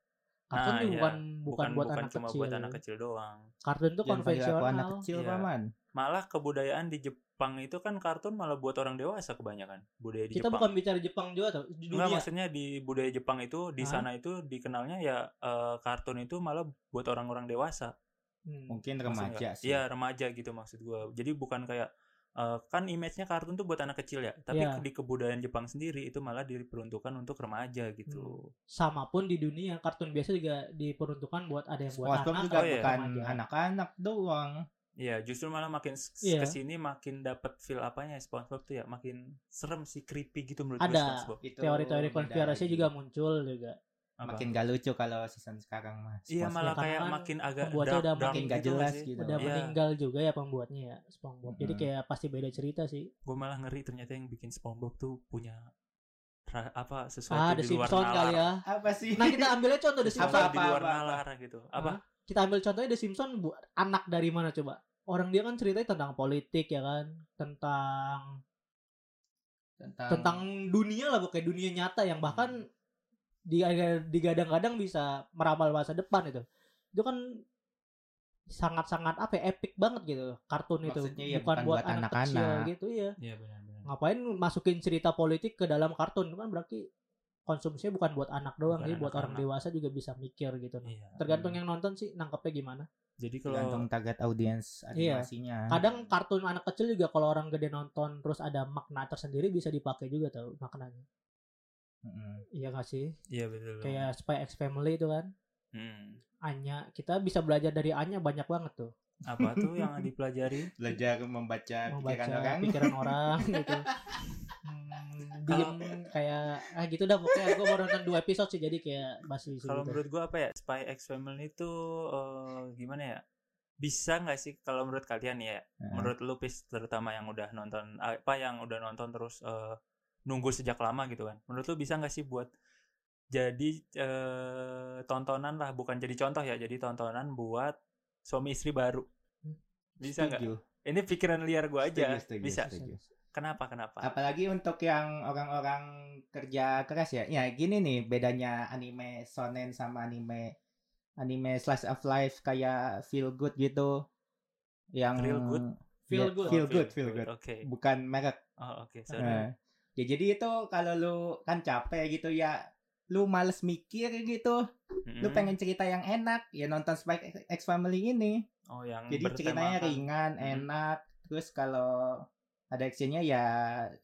kartun Nah, tuh iya. bukan, bukan bukan buat bukan anak cuma kecil buat anak kecil doang. kartun tuh Jangan panggil aku konvensional anak kecil, Iya. Paman. Malah kebudayaan di Jepang itu kan kartun malah buat orang dewasa kebanyakan. Budaya di kita Jepang. bukan bicara Jepang juga tuh dunia Enggak, maksudnya di budaya Jepang itu di Hah? sana itu dikenalnya ya eh, kartun itu malah buat orang-orang dewasa. Hmm. Mungkin Maksud remaja nggak? sih. Iya, remaja gitu maksud gua. Jadi bukan kayak eh, kan image-nya kartun tuh buat anak kecil ya, tapi Iya. di kebudayaan Jepang sendiri itu malah diperuntukkan untuk remaja Hmm. gitu. sama pun di dunia kartun biasa juga diperuntukkan buat ada yang buat Spongebob anak juga oh iya. bukan remaja. anak-anak doang. Iya, justru malah makin s- Iya. kesini makin dapat feel apanya ya, SpongeBob tuh ya, makin serem sih creepy gitu menurut Ada. gua SpongeBob. Itu teori-teori beda konspirasi gitu. lagi. juga muncul juga Apa? makin gak lucu kalau season sekarang mas. Iya Spongebob. malah karena kayak kan makin agak pembuatnya udah makin gak jelas gitu. udah Iya. meninggal juga ya pembuatnya ya SpongeBob jadi Mm-mm. kayak pasti beda cerita sih Gue malah ngeri ternyata yang bikin SpongeBob tuh punya ra- apa sesuatu ah Nah, di The luar Simpsons nalar. kali ya apa sih? nah kita ambilnya contoh The Sesuatu Simpsons Apa, di luar apa, apa, nalar gitu. Apa? kita ambil contohnya The Simpsons bu anak dari mana coba orang dia kan ceritanya tentang politik ya kan tentang tentang, tentang dunia lah kayak dunia nyata yang bahkan di digadang-gadang bisa meramal masa depan itu itu kan sangat-sangat apa ya, epic banget gitu kartun itu Maksudnya ya bukan buat kecil anak-anak. gitu ya Iya benar-benar. ngapain masukin cerita politik ke dalam kartun itu kan berarti konsumsinya bukan buat anak doang Bukan jadi buat orang anak-anak. dewasa juga bisa mikir gitu Iya. Hmm. tergantung yang nonton sih nangkepnya gimana Jadi tergantung kalau target audiens Iya. animasinya. kadang kartun anak kecil juga kalau orang gede nonton terus ada makna tersendiri bisa dipakai juga tau maknanya Mm-mm. iya gak sih iya betul. kayak Spy X Family itu kan Hmm. Anya kita bisa belajar dari Anya banyak banget tuh apa tuh yang dipelajari? Belajar membaca membaca pikiran orang. pikiran orang gitu Hmm, diem kayak ah gitu dah pokoknya gue baru nonton dua episode sih jadi kayak masih Kalau gitu. menurut gua apa ya? Spy X Family itu eh, gimana ya? Bisa nggak sih kalau menurut kalian ya? Heeh. Menurut lu Pis, terutama yang udah nonton apa yang udah nonton terus eh, nunggu sejak lama gitu kan. Menurut lu bisa nggak sih buat jadi eh, tontonan lah bukan jadi contoh ya, jadi tontonan buat suami istri baru. Bisa nggak? Hmm, Setuju, Ini pikiran liar gua aja. setuju, setuju, Bisa. setuju. Kenapa? Kenapa? Apalagi untuk yang orang-orang kerja keras ya. Ya gini nih bedanya anime shonen sama anime anime slice of life kayak feel good gitu. Yang Real good? Feel Ya, good. Feel good, feel good. Oke. Bukan merek. Oh, oke. Sorry. Eh. Ya jadi itu kalau lu kan capek gitu ya lu males mikir gitu, lu Mm-mm. pengen cerita yang enak, ya nonton Spike X- X Family ini. Oh, yang Jadi ceritanya bertemakan. ringan, Hmm. Mhm. enak. Terus kalau ada actionnya ya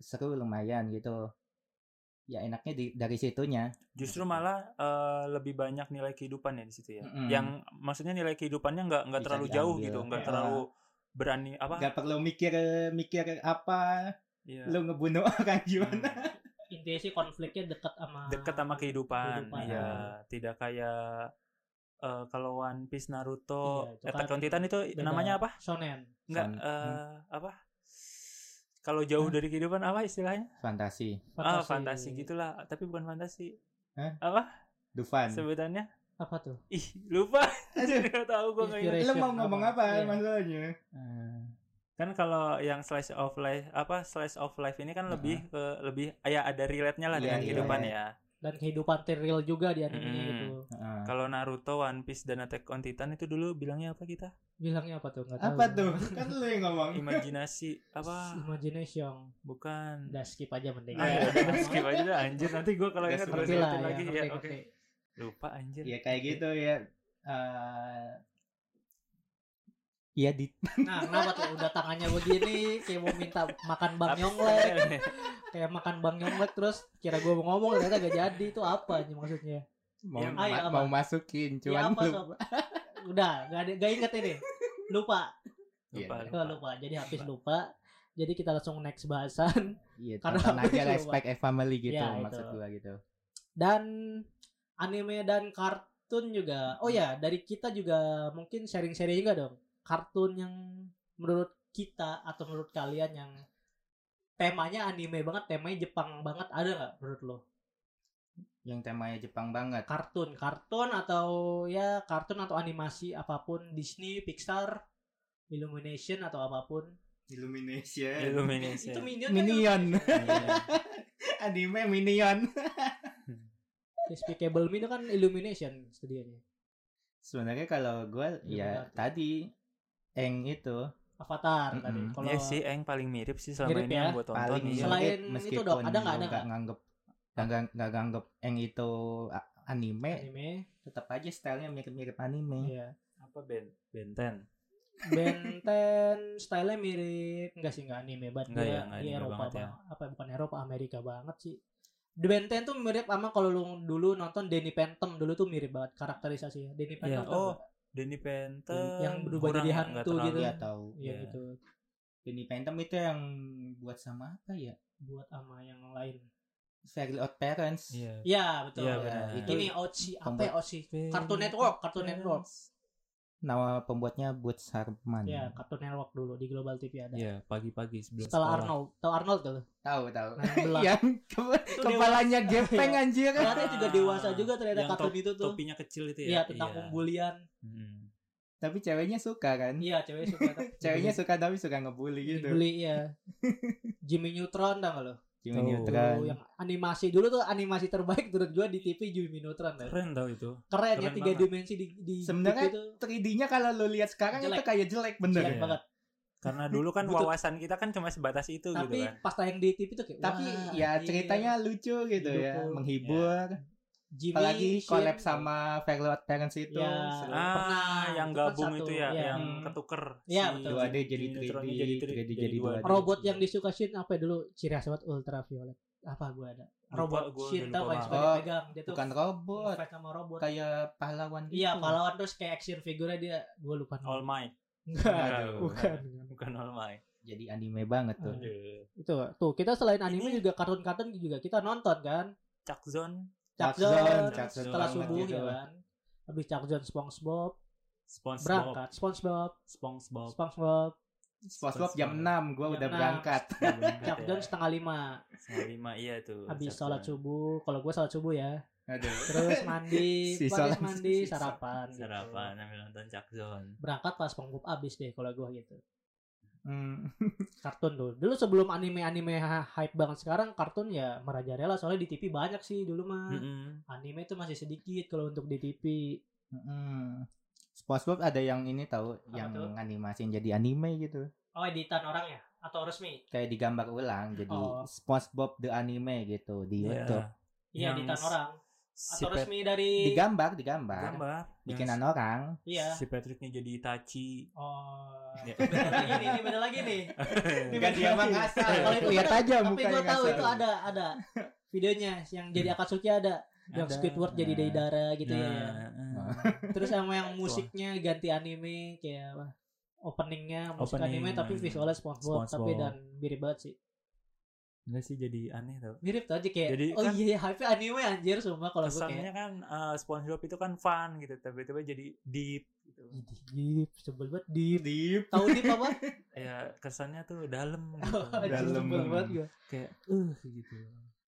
seru lumayan gitu. Ya enaknya di, dari situnya. Justru malah eh, lebih banyak nilai kehidupan ya di situ ya. Mm-mm. Yang maksudnya nilai kehidupannya nggak nggak Bisa terlalu jauh diambil. gitu, nggak Ya. terlalu berani apa? Gak perlu mikir mikir apa, Ya. Iya. lu ngebunuh orang gimana. Hmm. intinya sih konfliknya dekat sama Dekat sama kehidupan. Kehidupan. ya. Iya, tidak kayak eh, kalau One Piece, Naruto, Iya, itu Attack kan on Titan itu beda. namanya apa? shonen Fan- Nggak eh, apa? Kalau jauh dari kehidupan apa istilahnya? Hmm. Fantasi, Ah, fantasi gitulah, tapi bukan fantasi. Dufan. Sebutannya? apa tuh Ih, lupa. Aduh. Nggak tahu gua nggak ingat. Lu mau ngomong apa Iya. maksudnya? kan kalau yang slice of life apa slice of life ini kan Heeh. lebih ke lebih ya ada relate-nya lah Iya, dengan iya, kehidupan iya. ya. dan kehidupan real juga di anime Mm-mm. itu Heeh. Kalau Naruto, One Piece dan Attack on Titan itu dulu bilangnya apa kita? bilangnya apa tuh nggak tahu Apa tuh? Kan lu yang ngomong. Imajinasi apa? imagination Bukan. udah skip aja mending Ah, ya udah, skip aja dah, anjir nanti gue kalau Udah ingat gue ngerti Terus lah sebutin ya, lagi ya, ngerti, oke. ngerti. Lupa anjir. Ya kayak Iya. gitu ya. Eh, ya di nah kenapa tuh udah tangannya begini kayak mau minta makan bang Iya. Tapi- Yonglek kayak makan bang Yonglek terus kira gue mau ngomong ternyata gak jadi itu apa nih maksudnya mau, Ya, ma- ayo, apa? mau masukin ya cuman apa lu- sob? udah gak, ada, gak inget ini lupa Lupa, Iya, Gua lupa jadi habis lupa jadi kita langsung next bahasan Iya, Karena tonton aku aja lah coba. Spike and Family gitu Ya, maksud itu. gua gitu. dan anime dan kartun juga. Oh ya, dari kita juga mungkin sharing-sharing juga dong. Kartun yang menurut kita atau menurut kalian yang temanya anime banget, temanya Jepang banget ada nggak menurut lo? yang temanya Jepang banget. Kartun, kartun atau ya kartun atau animasi apapun Disney, Pixar, Illumination atau apapun. Illumination. Illumination. Itu Minion. kan Minion. Iya. Anime Minion. Despicable Me itu kan Illumination studionya. Sebenarnya kalau Iya, gue ya Illuminati. tadi Eng itu Avatar tadi. Mm-mm. Kalau Iya sih, Eng paling mirip sih selama Mirip ini ya. yang gue tonton. paling iya. Selain- mirip itu, meskipun Dok, ada nggak, lu ada nggak? nganggep nggak ngang- nggak nganggep Eng itu a- anime anime, tetap aja stylenya mirip-mirip anime ya. Apa Ben? Benten. Benten stylenya mirip enggak sih enggak anime banget Nggak dia, ya, nggak dia anime Eropa banget ya. banget, apa bukan Eropa Amerika banget sih The Benten tuh mirip sama kalau lu dulu nonton Danny Phantom dulu tuh mirip banget karakterisasinya Danny Phantom Iya. tau Oh, nggak? Danny Phantom. Yang berubah kurang jadi nggak- hantu nggak terlalu- gitu. Iya tahu Iya Iya. gitu Danny Phantom itu yang buat sama apa ya buat sama yang lain Fairly Odd Parents Iya. ya betul Iya, Ya, benar. itu ini Ochi apa pembuat- ya Ochi iya. Cartoon Network Cartoon Network nama pembuatnya Butch Hartman ya Cartoon Network dulu di Global TV ada Iya, pagi-pagi sebelum setelah sekolah. Arnold tau Arnold tuh tahu tahu Nah, yang belah. yang ke- Itu kepalanya dewasa. gepeng anjir ternyata Ah, Iya. juga dewasa juga ternyata yang kartun itu tuh Topinya kecil itu ya. Iya tentang pembulian Mm. tapi ceweknya suka kan iya cewek suka ceweknya suka tapi suka ngebully gitu Dibeli ya. Jimmy Neutron tau gak lo? Jimmy Tuh. Neutron Dulu yang animasi dulu tuh animasi terbaik menurut gua di TV Jimmy Neutron tau. Keren, Keren tau itu. ya Keren tiga banget. dimensi di di Sebenarnya TV tuh 3D-nya kalau lu lihat sekarang Jelek. itu kayak jelek keren bener ya? Jelek. banget. Karena dulu kan Butut. wawasan kita kan cuma sebatas itu Tapi gitu kan. pas tayang di TV tuh kayak tapi wah, iya. ya anjing. ceritanya lucu gitu ya Didukung. Iya. menghibur Jimmy apalagi Shin, collab sama Fairly Odd Parents itu Ya. seru. Ah, Pernah, yang itu kan gabung satu, itu ya, iya. yang Hmm. ketuker. Iya, si betul. 2D jadi Jimmy Neutronnya 3D, 3D jadi 2D. robot yang disuka Shin apa ya dulu? Ciri khas banget ultraviolet. Apa gua ada? Robot gua udah Shin lupa tau gak yang suka banget. Oh, dipegang dia tuh bukan robot fight sama robot. kayak gitu. pahlawan gitu. Iya, pahlawan terus kayak action figure-nya dia gua lupa Oh, All namanya. Might. Enggak, Aduh. bukan. Bukan All Might. jadi anime banget tuh Aduh. itu tuh kita selain anime juga kartun-kartun juga kita nonton kan Chuck Zone, Chuck Chuck Zone, Ah, Zone, Chuck Zone setelah banget subuh gitu. ya kan habis Chuck Zone SpongeBob SpongeBob, berangkat SpongeBob SpongeBob. SpongeBob SpongeBob jam Spongebob. 6 gua Jam udah 6. berangkat Chuck ya. Zone setengah lima setengah lima iya tuh. habis Chuck sholat Zone. subuh kalau gue sholat subuh ya aduh terus mandi Si habis sholat- mandi si sholat- sarapan gitu. sarapan ambil nonton Chuck Zone. berangkat pas SpongeBob abis deh kalau gue gitu Hmm. kartun dulu dulu sebelum anime-anime ha- hype banget sekarang kartun ya merajalela soalnya di TV banyak sih dulu mah Mm-mm. anime itu masih sedikit kalau untuk di TV Mm-mm. SpongeBob ada yang ini tahu Apa yang tuh? animasiin jadi anime gitu oh editan orang ya atau resmi kayak digambar ulang jadi Oh. SpongeBob the anime gitu di Iya. YouTube Iya Yang editan orang Si atau Pat- resmi dari digambar digambar gambar. bikinan Yang orang iya. Si Patricknya jadi Itachi. Oh. Iya. Beda lagi nih, ini beda lagi nih. Ini Enggak beda dia mah lagi. ngasal. Kalau itu Lihat bener. aja Tapi mukanya gue tahu ngasal. itu ada ada videonya yang jadi Akatsuki ada. Yang Iya. Ada. Squidward jadi Nah. Deidara gitu ya. Nah, eh. Terus sama yang musiknya ganti anime kayak apa? Openingnya musik Opening. anime tapi visualnya SpongeBob, tapi SpongeBob. dan mirip banget sih. Enggak sih jadi aneh tau. Mirip tuh aja kayak Jadi oh kan- iya hype anime anjir semua kalau gue kayak Kesannya kan eh, SpongeBob itu kan fun gitu, tapi tiba jadi deep gitu. Ih, deep sebel banget deep. Deep. Tahu deep apa? Ya kesannya tuh dalam gitu. Oh, anjir, Dalam. sebel banget gue. Kayak uh gitu.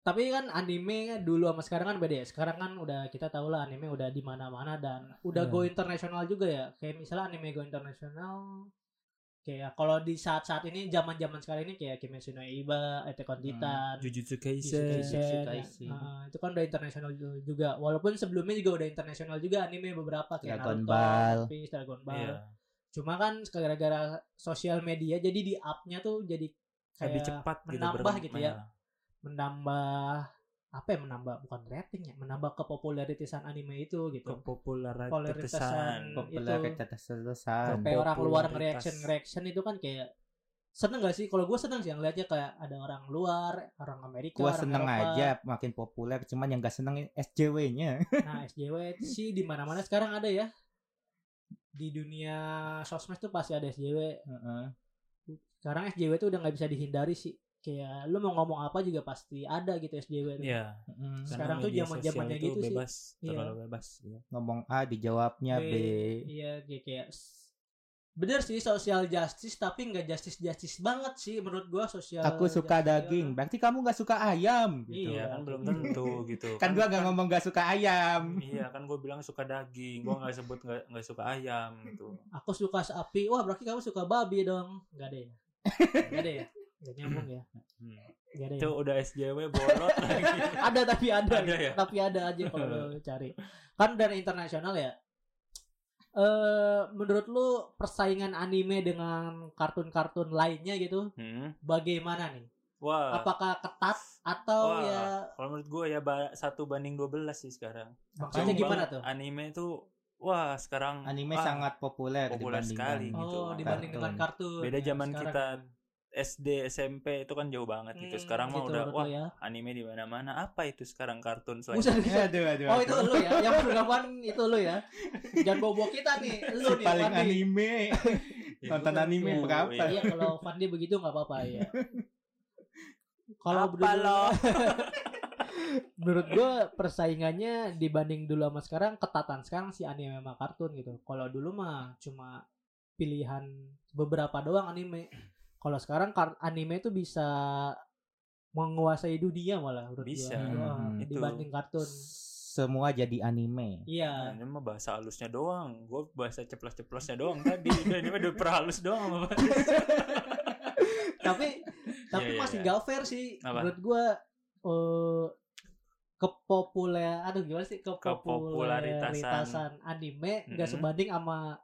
tapi kan anime kan dulu sama sekarang kan beda ya. Sekarang kan udah kita tahu lah anime udah di mana-mana dan udah Iya. go internasional juga ya. Kayak misalnya anime go internasional kayak kalau di saat-saat ini zaman-zaman sekarang ini kayak Kimetsu no Yaiba, Attack Hmm. on Titan, Jujutsu Iya, Jujutsu Kaisen. Kaisen, Jujutsu ya. Kaisen. Ah, itu kan udah internasional ju- juga. Walaupun sebelumnya juga udah internasional juga anime beberapa kayak Dragon Naruto, Ball. One Piece, Dragon Ball. Iya. Cuma kan gara-gara sosial media jadi di up-nya tuh jadi kayak Lebih cepat gitu menambah berkembang. gitu ya. menambah apa ya menambah bukan rating ya menambah kepopularitasan anime itu gitu Polaritasan. Kepopularitasan. Populer Itu. ketetesan. sampai orang luar popularitas. reaction reaction itu kan kayak seneng gak sih kalau gue seneng sih ngeliatnya kayak ada orang luar orang Amerika Gua orang seneng Eropa. aja makin populer, cuman yang gak seneng SJW-nya. nah SJW sih di mana mana sekarang ada ya di dunia sosmed tuh pasti ada SJW Heeh. sekarang SJW tuh udah nggak bisa dihindari sih kayak lu mau ngomong apa juga pasti ada gitu SJW tuh. Iya. Heeh. karena Sekarang tuh media zaman-zamannya sosial itu gitu sih. Bebas, Iya. terlalu bebas. ya. Iya, Ngomong A dijawabnya B. Iya kayak, kayak s- Bener sih social justice tapi nggak justice justice banget sih menurut gua social. Aku suka justice- daging, berarti kamu nggak suka ayam. Gitu. Iya Iya. kan belum tentu gitu. Kan gua nggak ngomong nggak suka ayam. Iya kan gue bilang suka daging, gue nggak sebut nggak nggak suka ayam gitu. Aku suka sapi. Wah berarti kamu suka babi dong. Gak ada ya. Gak ada ya. Gak nyambung ya. Hmm. Gak ada ya. Itu udah SJW bolot lagi. ada tapi ada, Ada ya? tapi ada aja kalau lo cari kan dan internasional ya eh menurut lu persaingan anime dengan kartun-kartun lainnya gitu Hmm. bagaimana nih Wah, apakah ketat atau Ah. Wah. ya kalau menurut gue ya ba- satu banding 12 sih sekarang. maksudnya Jauh gimana banget. tuh Anime tuh wah Hmm. sekarang ah, Anime wah, sangat populer, populer dibandingkan. sekali. gitu, Ah, oh kartun. dibanding dengan kartun Beda ya, zaman sekarang. kita SD SMP itu kan jauh banget gitu. Hmm, Sekarang mah gitu udah menurut wah lu ya. anime di mana-mana. Apa itu sekarang kartun selain Iya, Buset, buset. Aduh, aduh, oh aduh. itu lu ya yang bergaman itu lu ya jangan bobo kita nih lu Si nih paling Fandi. anime nonton Bukan, anime iya. berapa? Iya kalau Fandi begitu nggak apa-apa ya. Kalau Apa menurut- lo? menurut gue persaingannya dibanding dulu sama sekarang ketatan sekarang si anime sama kartun gitu. Kalau dulu mah cuma pilihan beberapa doang anime. Kalau sekarang kar- anime itu bisa menguasai dunia malah menurut Bisa. gua. Wah, Hmm, itu. dibanding kartun. Semua jadi anime. Nah, Iya. ini mah bahasa halusnya doang. Gue bahasa ceplos-ceplosnya doang tadi. Udah, ini mah udah perhalus doang sama bahasa. tapi tapi iya, masih iya. nggak fair sih Apa? menurut gua eh kepopuler aduh gimana sih Kepopularitasan. Hmm. kepopularitasan anime nggak Mm-mm. sebanding sama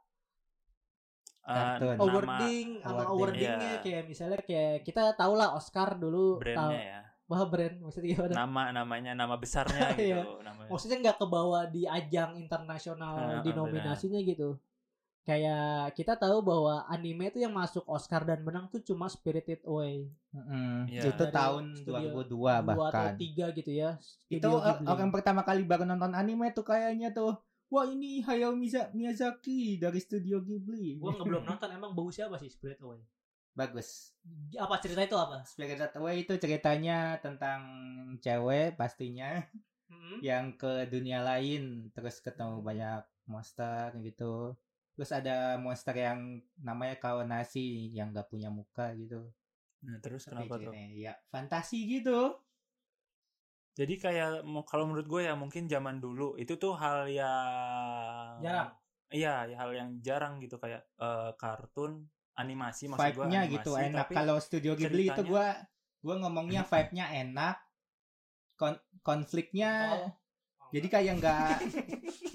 Eh, Kartun. nama awarding sama awarding. awardingnya Iya. kayak misalnya kayak kita tau lah Oscar dulu brandnya tahu ya. wah brand maksudnya gimana Nama namanya nama besarnya gitu. Iya. Namanya. maksudnya nggak kebawa di ajang internasional Ah, di nominasinya gitu kayak kita tahu bahwa anime itu yang masuk Oscar dan menang tuh cuma Spirited Away Mm-mm. Iya. Itu Dari tahun studio 2002 dua atau Ah, bahkan. tiga gitu ya Itu Studio eh, Ghibli. orang pertama kali baru nonton anime tuh kayaknya tuh. Wah ini Hayao Miza- Miyazaki dari studio Ghibli. gue nggak belum nonton emang bau siapa sih Spirit Away Bagus. apa cerita itu apa Spirited Away itu ceritanya tentang cewek pastinya Hmm? yang ke dunia lain terus ketemu banyak monster gitu. Terus ada monster yang namanya Kawanasi yang gak punya muka gitu. Nah, terus Tapi kenapa tuh? ceritanya Ya fantasi gitu. Jadi kayak mau- kalau menurut gue ya mungkin zaman dulu itu tuh hal yang jarang Iya, ya hal yang jarang gitu kayak eh, kartun, animasi maksud gue. Vibe-nya gitu enak. Kalau Studio Ghibli itu ceritanya- gua gua ngomongnya vibe-nya enak. Kon- konfliknya Kontol. jadi kayak nggak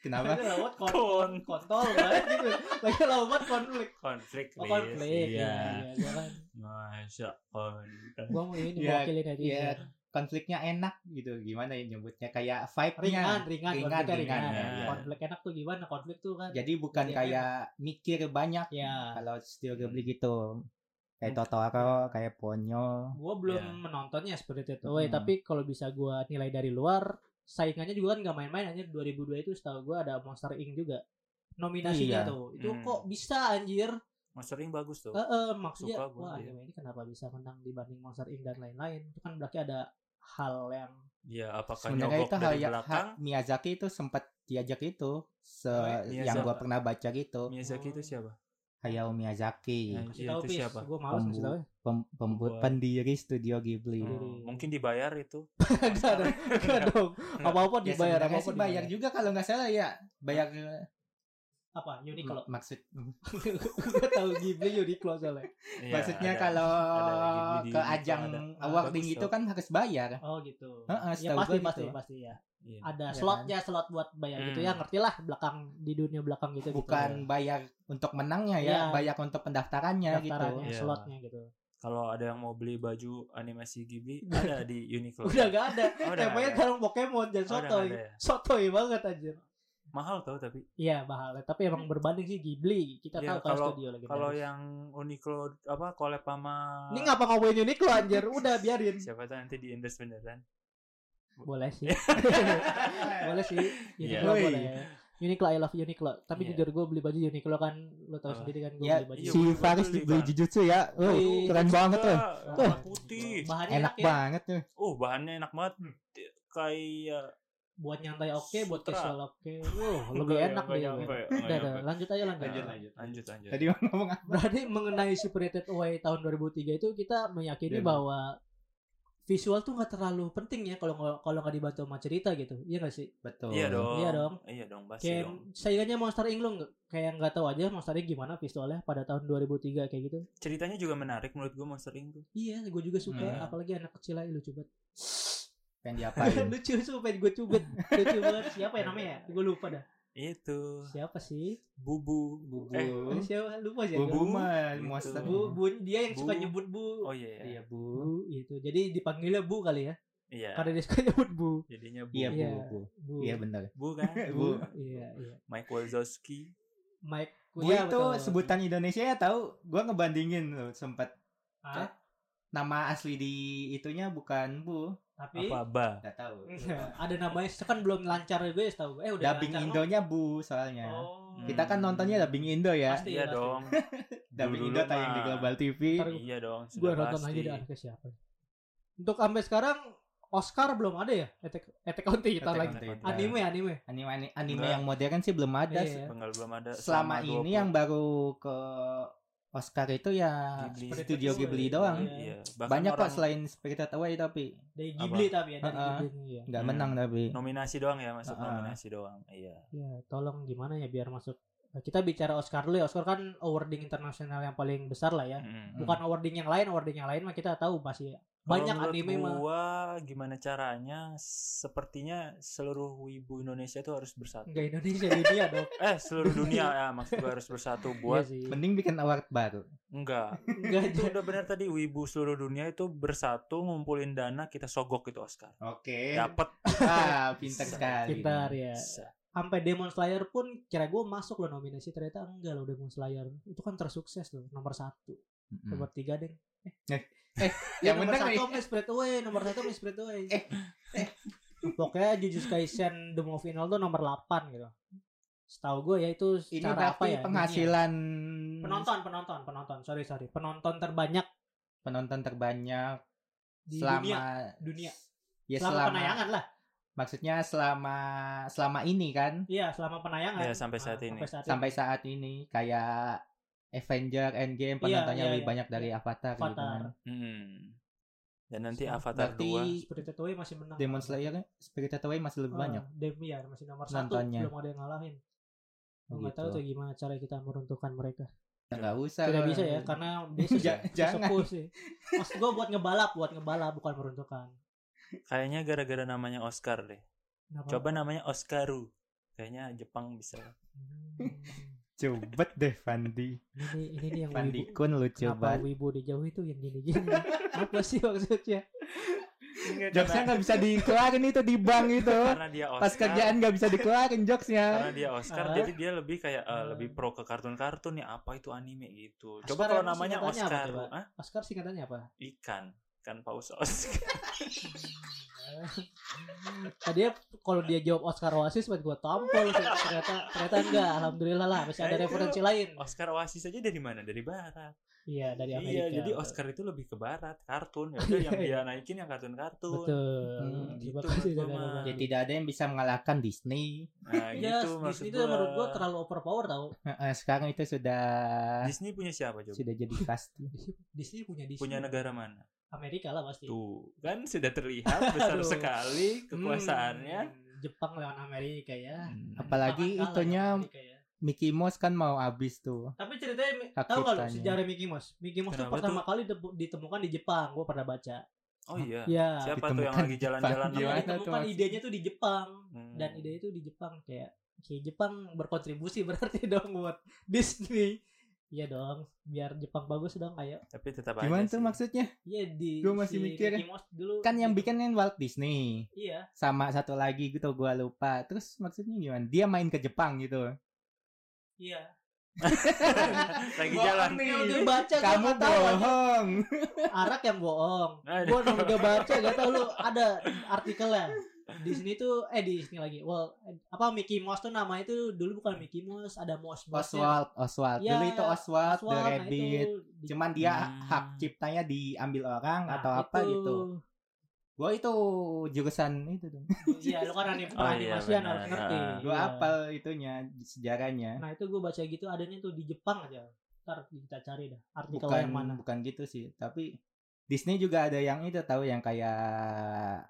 kenapa? Ini lawat kon Kon. kontol banget gitu lagi lawat konflik konflik, oh Riz. konflik Iya. ya, jangan Masya konflik. gue mau ini Iya, wakilin aja iya. Konfliknya enak gitu. Gimana ya nyebutnya kayak vibe-nya. ringan ringan Ringan, konfliknya ringan, ya. konflik enak tuh gimana konflik tuh kan Jadi bukan Iya, kayak mikir banyak ya kalau Studio Ghibli gitu. Kayak Totoro, kayak Ponyo. gue belum Iya. menontonnya Spirit Away Hmm. tapi kalau bisa gue nilai dari luar saingannya juga kan nggak main-main anjir 2002 itu setahu gue ada Monster Inc juga nominasinya Iya. tuh itu Hmm. kok bisa anjir Mas sering bagus tuh. Eh, eh, maksudnya Suka gua, wah iya. anime ini kenapa bisa menang dibanding Monster Inc dan lain-lain? Itu kan berarti ada hal yang Iya, apakah Sebenarnya nyogok itu hal dari yang belakang? ha- Miyazaki itu sempat diajak itu se Oh, yang gua Miyazaki. pernah baca gitu. Miyazaki itu siapa? Hayao Miyazaki. Yang kasih iya, tahu itu pis. siapa? Gue malas ngasih tahu. ya. pem- pembuat Pembuat. pendiri studio Ghibli. Hmm, Diri. mungkin dibayar itu. Enggak dong, enggak dong. Apa-apa Ya dibayar, sebenarnya apa-apa sih bayar dibayar. juga kalau nggak salah ya. Bayar eh, Apa? Uniqlo. mak- maksud Gue tahu Ghibli Uniqlo soalnya. Iya, maksudnya ada. kalau ada Ghibli di ke Uniqlo ajang ada. Ah, awarding bagus itu tuh. kan harus bayar. Oh gitu. Heeh, ya setahu pasti gua pasti gitu. pasti ya. Iya. Ada Iya slotnya, slot buat bayar gitu ya. Hmm. Ngerti lah belakang di dunia belakang gitu. Bukan bayar untuk menangnya ya, Iya. bayar untuk pendaftarannya gitu. gitu. daftarannya, Iya. slotnya gitu. Kalau ada yang mau beli baju animasi Ghibli ada di Uniqlo. Udah gak ada. Oh, udah Temanya ada. sekarang Pokemon Oh, dan udah nggak sotoy. ada ya? Sotoy banget anjir. Mahal tau tapi. Iya mahal, tapi emang berbanding sih Ghibli. Kita Iya, tahu kalau kalau- studio lagi. Kalau ya- yang Uniqlo apa collab sama ini ngapa ngomongin Uniqlo anjir? Udah biarin. siapa tahu nanti di endorse beneran. Boleh sih. boleh sih. Iya. Uniqlo Woi. boleh. Uniqlo I love Uniqlo. Tapi Iya. jujur gue beli baju Uniqlo kan lo tau Apa? sendiri kan gue Ya, beli baju. Iya, si bener, Faris betul, beli Bang. jujutsu ya. Wih, Woi, keren banget tuh. Warna putih. Bahannya Enak enak, ya. banget tuh. Hmm. Oh, bahannya enak banget. Kayak buat nyantai oke, buat Sutra. casual oke. Wow, lebih enak deh. deh. Udah, udah, lanjut aja lanjut. Lanjut, lanjut. Lanjut, lanjut. Tadi mau ngomong apa? Berarti mengenai Spirited Away tahun 2003 itu kita meyakini Iya. bahwa visual tuh nggak terlalu penting ya kalau nggak- kalau nggak dibantu sama cerita gitu. Iya nggak sih? Betul. Iya dong. Iya dong. Iya dong, pasti Kayak dong. saingannya Monster Inc lo nggak- kayak nggak tahu aja Monster Inc gimana visualnya pada tahun 2003 kayak gitu. Ceritanya juga menarik menurut gue Monster Inc tuh. Iya, gue juga suka. Iya. Apalagi anak kecil aja lucu banget. Pengen diapain? lucu sumpah pengen gue cubit. Lucu banget. Siapa ya namanya? ya? Gue lupa dah. Itu Siapa sih? Bubu. Bubu. Eh, Siapa? Lupa sih. Bubu Bu. mah Gitu. monster. Bu, bu, dia yang suka Bu. nyebut bu. Oh iya. Iya. Hmm. Iya, Bu. Bu itu. Jadi dipanggilnya bu kali ya. Iya. Karena dia suka nyebut bu. Jadinya Bu. Iya, Bu. Iya. Bu. Bu. Iya, benar. Bu kan? Bu. Iya, iya. Mike Wazowski. Mike Bu iya, itu betul. sebutan Indonesia ya tahu? Gua ngebandingin loh sempat Hah? nama asli di itunya bukan Bu, tapi Apa Ba? enggak tahu. ada namanya kan belum lancar gue ya tahu. Eh udah Dubbing lancar, Indonya Bu soalnya. Oh. Kita kan nontonnya dubbing Indo ya. Pasti, Iya pasti. dong. Dubbing Dulu Indo tayang di mah. Global TV. Ntar Iya dong. Gue sudah nonton pasti. aja di anaknya siapa. Untuk sampai sekarang Oscar belum ada ya? Attack, Attack on Titan Attack lagi. on Titan. Anime, anime. Anime anime, anime Enggak. yang modern sih belum ada. Iya. Tunggal belum ada. Selama ini yang baru ke Oscar itu ya Ghibli. Studio Spirited Ghibli Away. doang. Iya. Iya. Bahkan Banyak kok orang selain Spirited Away tapi Dari Ghibli tapi ya, dari Heeh. Ghibli ya. nggak Hmm. menang tapi. nominasi doang ya masuk Ah, ah. nominasi doang. Iya. Ya, tolong gimana ya biar masuk. Nah, kita bicara Oscar dulu ya. Oscar kan awarding internasional yang paling besar lah ya. Mm. Bukan awarding yang lain, awarding yang lain mah kita tahu pasti ya. Banyak Kalau menurut anime mah. gua gimana caranya sepertinya seluruh wibu Indonesia tuh harus bersatu Enggak Indonesia dunia dong. eh seluruh dunia ya maksud gua harus bersatu Iya buat sih. Mending bikin award baru. enggak Enggak itu aja. udah benar tadi wibu seluruh dunia itu bersatu ngumpulin dana kita sogok itu Oscar Oke. dapat Ah, pintar sekali. Pintar ya. Sampai Demon Slayer pun kira gue masuk loh nominasi ternyata enggak loh Demon Slayer. Itu kan tersukses loh nomor satu. Mm-mm. Nomor tiga deh. Eh, eh, yang nomor bener satu nih. Miss Spread Away, nomor satu Miss Spread Away. Eh, Pokoknya Jujutsu Kaisen The Movie Final tuh nomor 8 gitu. Setahu gue ya itu Ini secara apa berarti ya? penghasilan dunia. Penonton, penonton, penonton. Sorry, sorry. Penonton terbanyak penonton terbanyak di selama dunia. dunia. Ya selama, selama, penayangan lah. maksudnya selama selama ini kan Iya, selama penayangan. Iya, sampai saat Ah, ini. Sampai saat sampai saat ini kayak Avenger Endgame penontonnya iya, lebih iya. banyak dari Avatar, gitu kan. Avatar. Hmm. dan nanti So, Avatar berarti 2 Spirited Away masih menang. Demon Slayer Spirited Away masih lebih Ah, banyak. Dem ya masih nomor Nontonnya. satu, belum ada yang ngalahin. Gue nggak Gitu. tahu tuh gimana cara kita meruntuhkan mereka. Enggak usah. Tidak lah. bisa ya, karena dia sih Ja- jangan. sesepuh sih. Maksud gue buat ngebalap, buat ngebalap, bukan meruntuhkan. kayaknya gara-gara namanya Oscar deh Kenapa? coba namanya Oscaru kayaknya Jepang bisa Hmm, Cubet deh Fandi. ini ini nih yang Fandi wibu. Kun lucu Kenapa banget. wibu dijauhi tuh yang gini-gini? Apa sih maksudnya? Jokesnya nggak bisa dikeluarin itu di bank itu. karena dia Oscar Pas kerjaan nggak bisa dikeluarin jokesnya. karena dia Oscar Ah. jadi dia lebih kayak eh, Ah. lebih pro ke kartun-kartun ya apa itu anime gitu Oscar coba kalau emang namanya singkatannya apa Oscar coba? Hah? Oscar singkatannya apa? ikan ikan paus Oscar Tadi ya, kalau dia jawab Oscar Oasis buat gue tampol sih. Ternyata ternyata enggak. Alhamdulillah lah masih Nah, ada itu referensi lain. Oscar Oasis aja dari mana dari barat Iya dari Amerika. Iya, iya jadi Oscar itu lebih ke barat kartun ya udah yang dia naikin yang kartun-kartun Betul. Hmm, Terima gitu kasih menurut gua Dadang. mah. Ya tidak ada yang bisa mengalahkan Disney. nah Ya, gitu maksud Disney itu gua. menurut gua terlalu overpower tau. Heeh, sekarang itu sudah Disney punya siapa coba sudah jadi pasti. Disney punya Disney. punya negara mana Amerika lah pasti. tuh kan sudah terlihat besar Aduh. sekali kekuasaannya Hmm, Jepang lawan Amerika ya. Hmm. Apalagi Jepang kan kalah itunya lawan Amerika ya. Mickey Mouse kan mau habis tuh. Tapi ceritanya Mi- Hak tahu kalau ciptanya. sejarah Mickey Mouse. Mickey Mouse Kenapa tuh pertama kali debu- ditemukan di Jepang. Gua pernah baca. oh iya Ya. siapa tuh yang Ditemukan lagi jalan-jalan Jepang. Karena Gimana namanya? tuh ditemukan maksudnya? idenya tuh di Jepang Hmm. dan ide itu di Jepang kayak kayak Jepang berkontribusi berarti dong buat Disney. Iya dong, biar Jepang bagus dong kayak tapi tetap aja Gimana tuh sih. maksudnya? Iya di Gua masih mikir. Mickey Mouse dulu Kan yang gitu. bikin kan Walt Disney. Iya, Sama satu lagi gitu gua lupa. Terus maksudnya gimana? Dia main ke Jepang gitu. iya. lagi Bohong jalan nih. Yang udah baca gua Kamu nggak tahu aja. bohong. Arak yang bohong. Aduh. Gua udah udah baca gak tau lu ada artikelnya. Di sini tuh eh di sini lagi. Well, apa Mickey Mouse tuh namanya itu dulu bukan Mickey Mouse, ada Mouse Mouse. Oswald, Oswald. Ya, Dulu itu Oswald, The nah Rabbit. itu di- Cuman dia Hmm. hak ciptanya diambil orang nah, atau apa itu. gitu. Gua itu jurusan itu tuh. iya lu kan anime Oh, iya, animasian benar. harus ngerti Heeh. Gua Iya. apal itunya sejarahnya. nah itu gue baca gitu adanya tuh di Jepang aja ntar kita cari dah artikel bukan yang mana bukan gitu sih, tapi Disney juga ada yang itu tahu yang kayak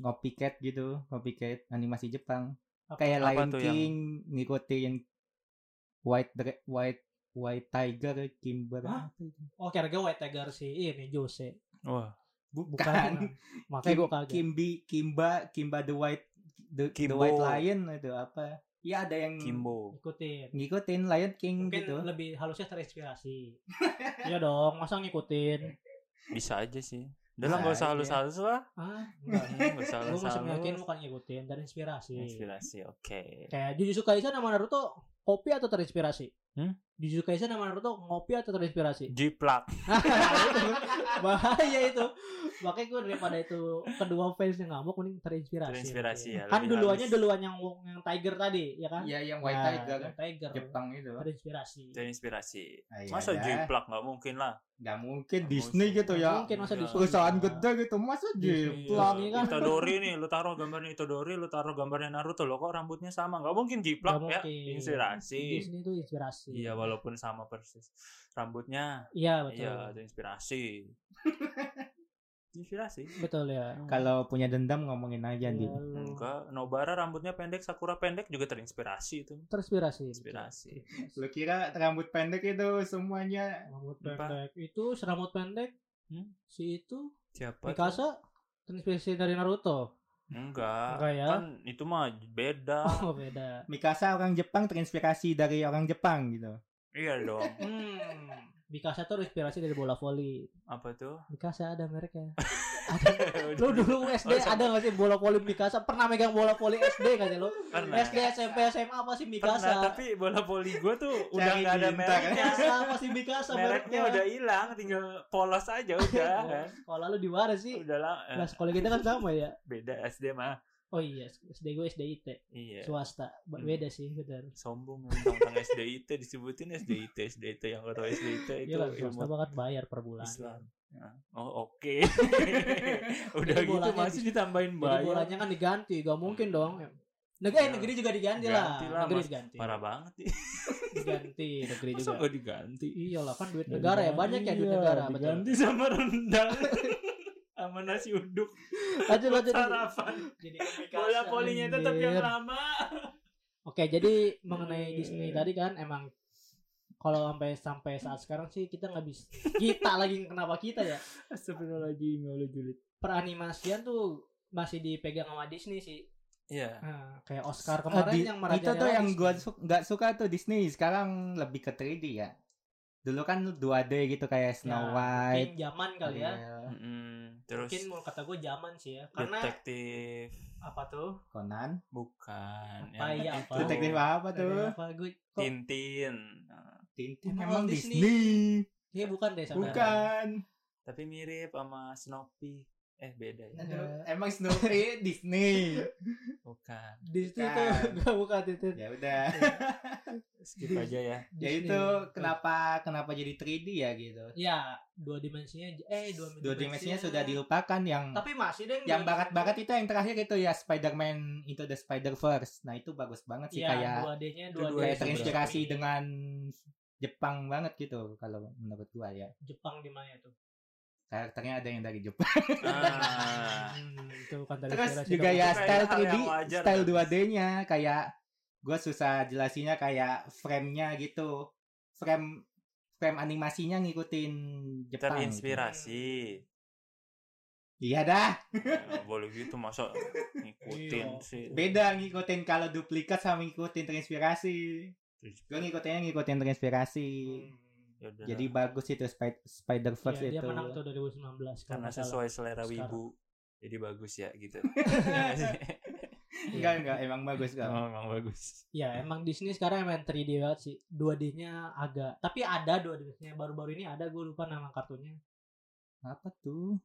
copycat gitu, copycat animasi Jepang. Apa- Kayak apa Lion tuh yang- King ngikutin White Dra- White White Tiger Kimber. Hah? oh kira-kira White Tiger sih ini Jose Wah, Bukan. makanya Kim, gue kaget Kimbi Kimba Kimba the White the, the Kimbo. White Lion itu apa? Ya ada Hmm. yang Kimbo. ikutin ngikutin Lion King mungkin gitu. lebih harusnya terinspirasi iya dong masa ngikutin Bisa aja sih. Bisa Udah lah nggak usah aja. halus-halus lah. Hmm, ah Nggak usah gue masih yakin halus-halus. bukan ngikutin terinspirasi Inspirasi, oke. kayak Jujutsu Kaisen sama Naruto kopi atau terinspirasi Hmm? Jujutsu Kaisen sama Naruto ngopi atau terinspirasi Jiplak. bahaya itu makanya gue daripada itu kedua fans yang ngamuk mending terinspirasi Terinspirasi ya, kan lebih duluannya halus. duluan yang yang Tiger tadi ya kan Iya yang White Nah, Tiger White Tiger Jepang itu. terinspirasi Terinspirasi. Ah, iya Masa dah. jiplak nggak mungkin lah. Gak mungkin Nggak Disney mungkin. gitu Nggak ya. mungkin masa Iya. disuruh Perusahaan ya. gede gitu masa Disney. jiplak. Iya. kan. Itadori nih, lu taruh gambarnya Itadori, lu taruh gambarnya Naruto, lo kok rambutnya sama? Gak mungkin jiplak ya, Nggak mungkin. inspirasi. Disney itu inspirasi Iya, walaupun sama persis rambutnya, iya betul iya itu inspirasi. inspirasi. betul ya Kalau punya dendam ngomongin aja Iya, nih. lu Enggak, Nobara rambutnya pendek, Sakura pendek juga terinspirasi itu. terinspirasi Inspirasi. Lu kira rambut pendek itu semuanya rambut Apa? pendek itu serambut pendek Hmm? si itu Siapa? tuh? Mikasa terinspirasi dari Naruto Enggak. enggak ya Kan itu mah beda. oh beda Mikasa orang Jepang terinspirasi dari orang Jepang gitu. iya dong. hmm Mikasa tuh terinspirasi dari bola voli Apa tuh? Mikasa ada mereknya lu dulu Oh, SD ada gak sih bola voli Mikasa pernah megang bola voli SD gak sih lu Pernah. SD SMP SMA apa sih Pernah, Mikasa tapi bola voli gue tuh udah Cari nggak ada bintang. mereknya. Mikasa apa sih Mikasa Oh, Mereknya udah hilang, tinggal polos aja udah. kan. sekolah lu di mana sih udah lah, eh, nah sekolah kita kan sama ya beda SD mah. oh iya SD gue SDIT Iya. swasta Ba- beda sih benar Sombong tentang SDIT disebutin SDIT SDIT yang gak tau SDIT itu Iya lah, swasta ilmu banget bayar per bulan. Islam. Nah, Oh oke. Udah Jadi gitu bolanya masih ditambahin Jadi bayar. bolanya kan diganti, gak mungkin dong. Negeri, Ya. negeri juga diganti Ganti lah. lah, Negeri Mas. diganti. Parah banget sih. Diganti negeri Masa juga. gak diganti? Iya lah kan duit negara ya banyak ya duit Iya, negara betul. Diganti sama rendang. sama nasi uduk. Lanjut lanjut. Sarapan. Jadi Bola polinya tetap yang anjir. lama. Oke, jadi mengenai Disney tadi kan emang kalau sampai sampai saat sekarang sih kita nggak bisa kita lagi kenapa kita ya Astagfirullahaladzim, ya Allah julid. peranimasian tuh masih dipegang sama Disney sih Iya. Nah, kayak Oscar Ah, kemarin di- yang merajalela itu tuh yang Disney. gue nggak suka tuh Disney sekarang lebih ke 3D ya. Dulu kan 2D gitu kayak Snow Ya, White. mungkin zaman kali ya Ariel, Mm-mm. Terus mungkin mau kata gue zaman sih ya karena detektif apa tuh Conan. bukan. ya. Apa iya, apa? itu. Detektif apa Dari tuh? apa gue kok Tintin. Nah, Tintin ya. Emang memang Disney. Disney. ini Iya, bukan deh saudara Bukan. Tapi mirip sama Snoopy. Eh beda ya. Aduh, Emang Snoopy Disney. Bukan. di situ tuh Bukan. gak bukan Iya. itu Ya udah. Skip aja ya. Ya itu kenapa kenapa jadi 3D ya gitu. ya dua dimensinya eh dua, Dua dimensinya sudah dilupakan yang tapi masih deh yang bakat-bakat itu yang terakhir itu ya Spider-Man Into the Spider-Verse. Nah, itu bagus banget sih ya, kayak dua D nya Itu dua D dua kayak yang terinspirasi dengan Jepang banget gitu kalau menurut gua ya. Jepang di mana tuh Karakternya ada yang dari Jepang. Ah. Hmm, itu kan tadi Terus inspirasi juga dong. ya Itu style kayaknya hal 3D, yang wajar. kan? style 2D-nya kayak gua susah jelasinnya kayak frame-nya gitu. Frame frame animasinya ngikutin Jepang. gitu. Terinspirasi. Iya dah. Ya, nggak boleh gitu masa ngikutin Iya. sih. Beda ngikutin kalau duplikat sama ngikutin terinspirasi. Gue Iya. ngikutinnya ngikutin terinspirasi. Hmm. Yaudah. Jadi bagus itu Spi- Spider-Verse Ya, dia itu. menang tuh 2019 kalau karena nggak salah. sesuai selera Sekarang. wibu. Jadi bagus ya gitu. Iya nggak sih? Enggak, enggak, emang bagus kok. Oh, emang bagus. Hmm. Ya emang Disney sekarang emang 3D banget sih 2D-nya agak Tapi ada 2D-nya Baru-baru ini ada gue lupa nama kartunya Apa tuh?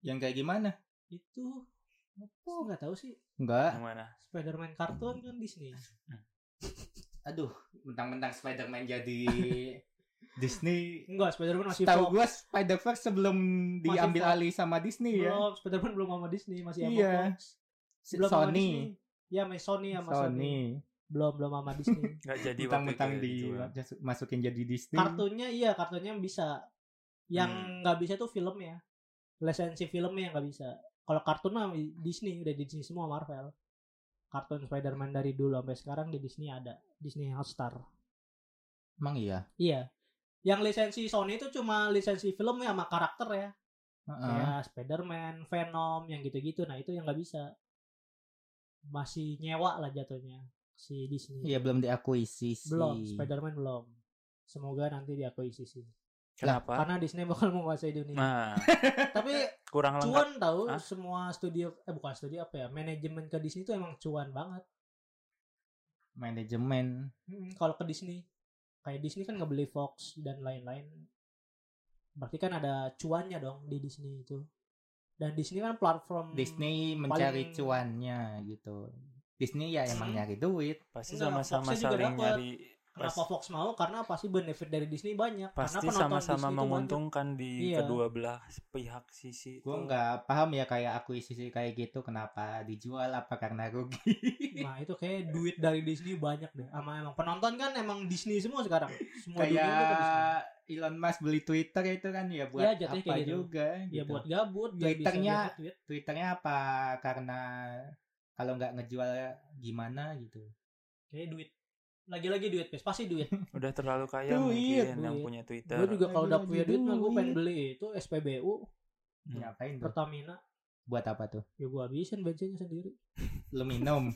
Yang kayak gimana? Itu Apa nggak tahu sih Enggak. Yang mana? Spider-Man kartun kan Disney Aduh, mentang-mentang Spider-Man jadi Disney Enggak, Spider-Man masih tahu Fox. gue Spider Verse sebelum diambil Fox. alih sama Disney ya Belum, Spider-Man belum sama Disney, masih sama Iya. Fox. Si- Belum sama Sony Disney. Iya, sama Sony sama Sony. Sony Belum, belum sama Disney. nggak jadi waktu itu mentang-mentang ya di dijual. masukin jadi Disney kartunya iya, kartunya bisa. Yang nggak bisa tuh filmnya. Lisensi filmnya yang nggak bisa. Kalau kartun mah Disney, udah di Disney semua Marvel. Kartun Spider-Man dari dulu sampai sekarang di Disney ada. Disney Hotstar. emang iya Iya. Yang lisensi Sony itu cuma lisensi film ya sama karakter ya. Heeh. Kayak Spider-Man, Venom, yang gitu-gitu. Nah, itu yang nggak bisa. Masih nyewa lah jatuhnya si Disney. Iya belum diakuisisi. Belum, Spider-Man belum. Semoga nanti diakuisisi. Kenapa? Karena Disney bakal menguasai dunia. Nah, Tapi kurang lengkap. cuan tahu Hah? semua studio eh bukan studio apa ya, manajemen ke Disney itu emang cuan banget. Manajemen. Mm, kalau ke Disney kayak Disney kan ngebeli Fox dan lain-lain berarti kan ada cuannya dong di Disney itu dan Disney kan platform Disney mencari paling- cuannya gitu. Disney ya emang Hmm. nyari duit. Pasti Enggak, sama-sama Foxnya juga saling dapat. nyari kenapa Fox mau karena pasti benefit dari Disney banyak pasti karena penonton sama-sama Disney itu menguntungkan di Iya. kedua belah pihak sisi. Gue nggak paham ya kayak akuisisi kayak gitu kenapa dijual apa karena rugi. banyak. nah itu kayak duit dari Disney banyak deh sama emang penonton kan emang Disney semua sekarang semua dunia itu ke Disney. kayak Elon Musk beli Twitter itu kan ya buat Iya, kan? jatuhnya apa kayak gitu. juga ya gitu. buat gabut biar bisa Twitternya dapat duit. Twitternya apa karena kalau nggak ngejual gimana gitu. kayak duit lagi-lagi duit pes pasti duit Udah terlalu kaya Duit, mungkin yang duit. punya Twitter. gue juga kalau udah Lagi-lagi punya duit mah gue pengen duit. beli itu SPBU Hmm. Ngapain tuh? Pertamina Buat apa tuh? ya gue habisin bensinnya sendiri Lu minum.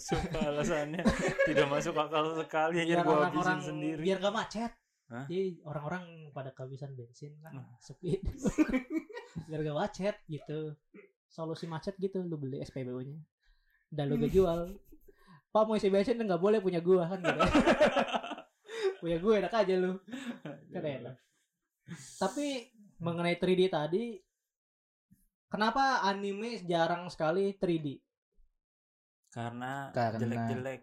Sumpah alasannya tidak masuk akal sekali ya biar gua orang-orang habisin sendiri. biar gak macet Hah? jadi orang-orang pada kehabisan bensin kan Hmm. sepi biar gak macet gitu solusi macet gitu lu beli SPBU nya dan lu gak jual pak mau isi bensin nggak boleh punya gua kan gitu punya gue enak aja lu kan enak tapi mengenai 3D tadi kenapa anime jarang sekali 3D Karena Karena- jelek-jelek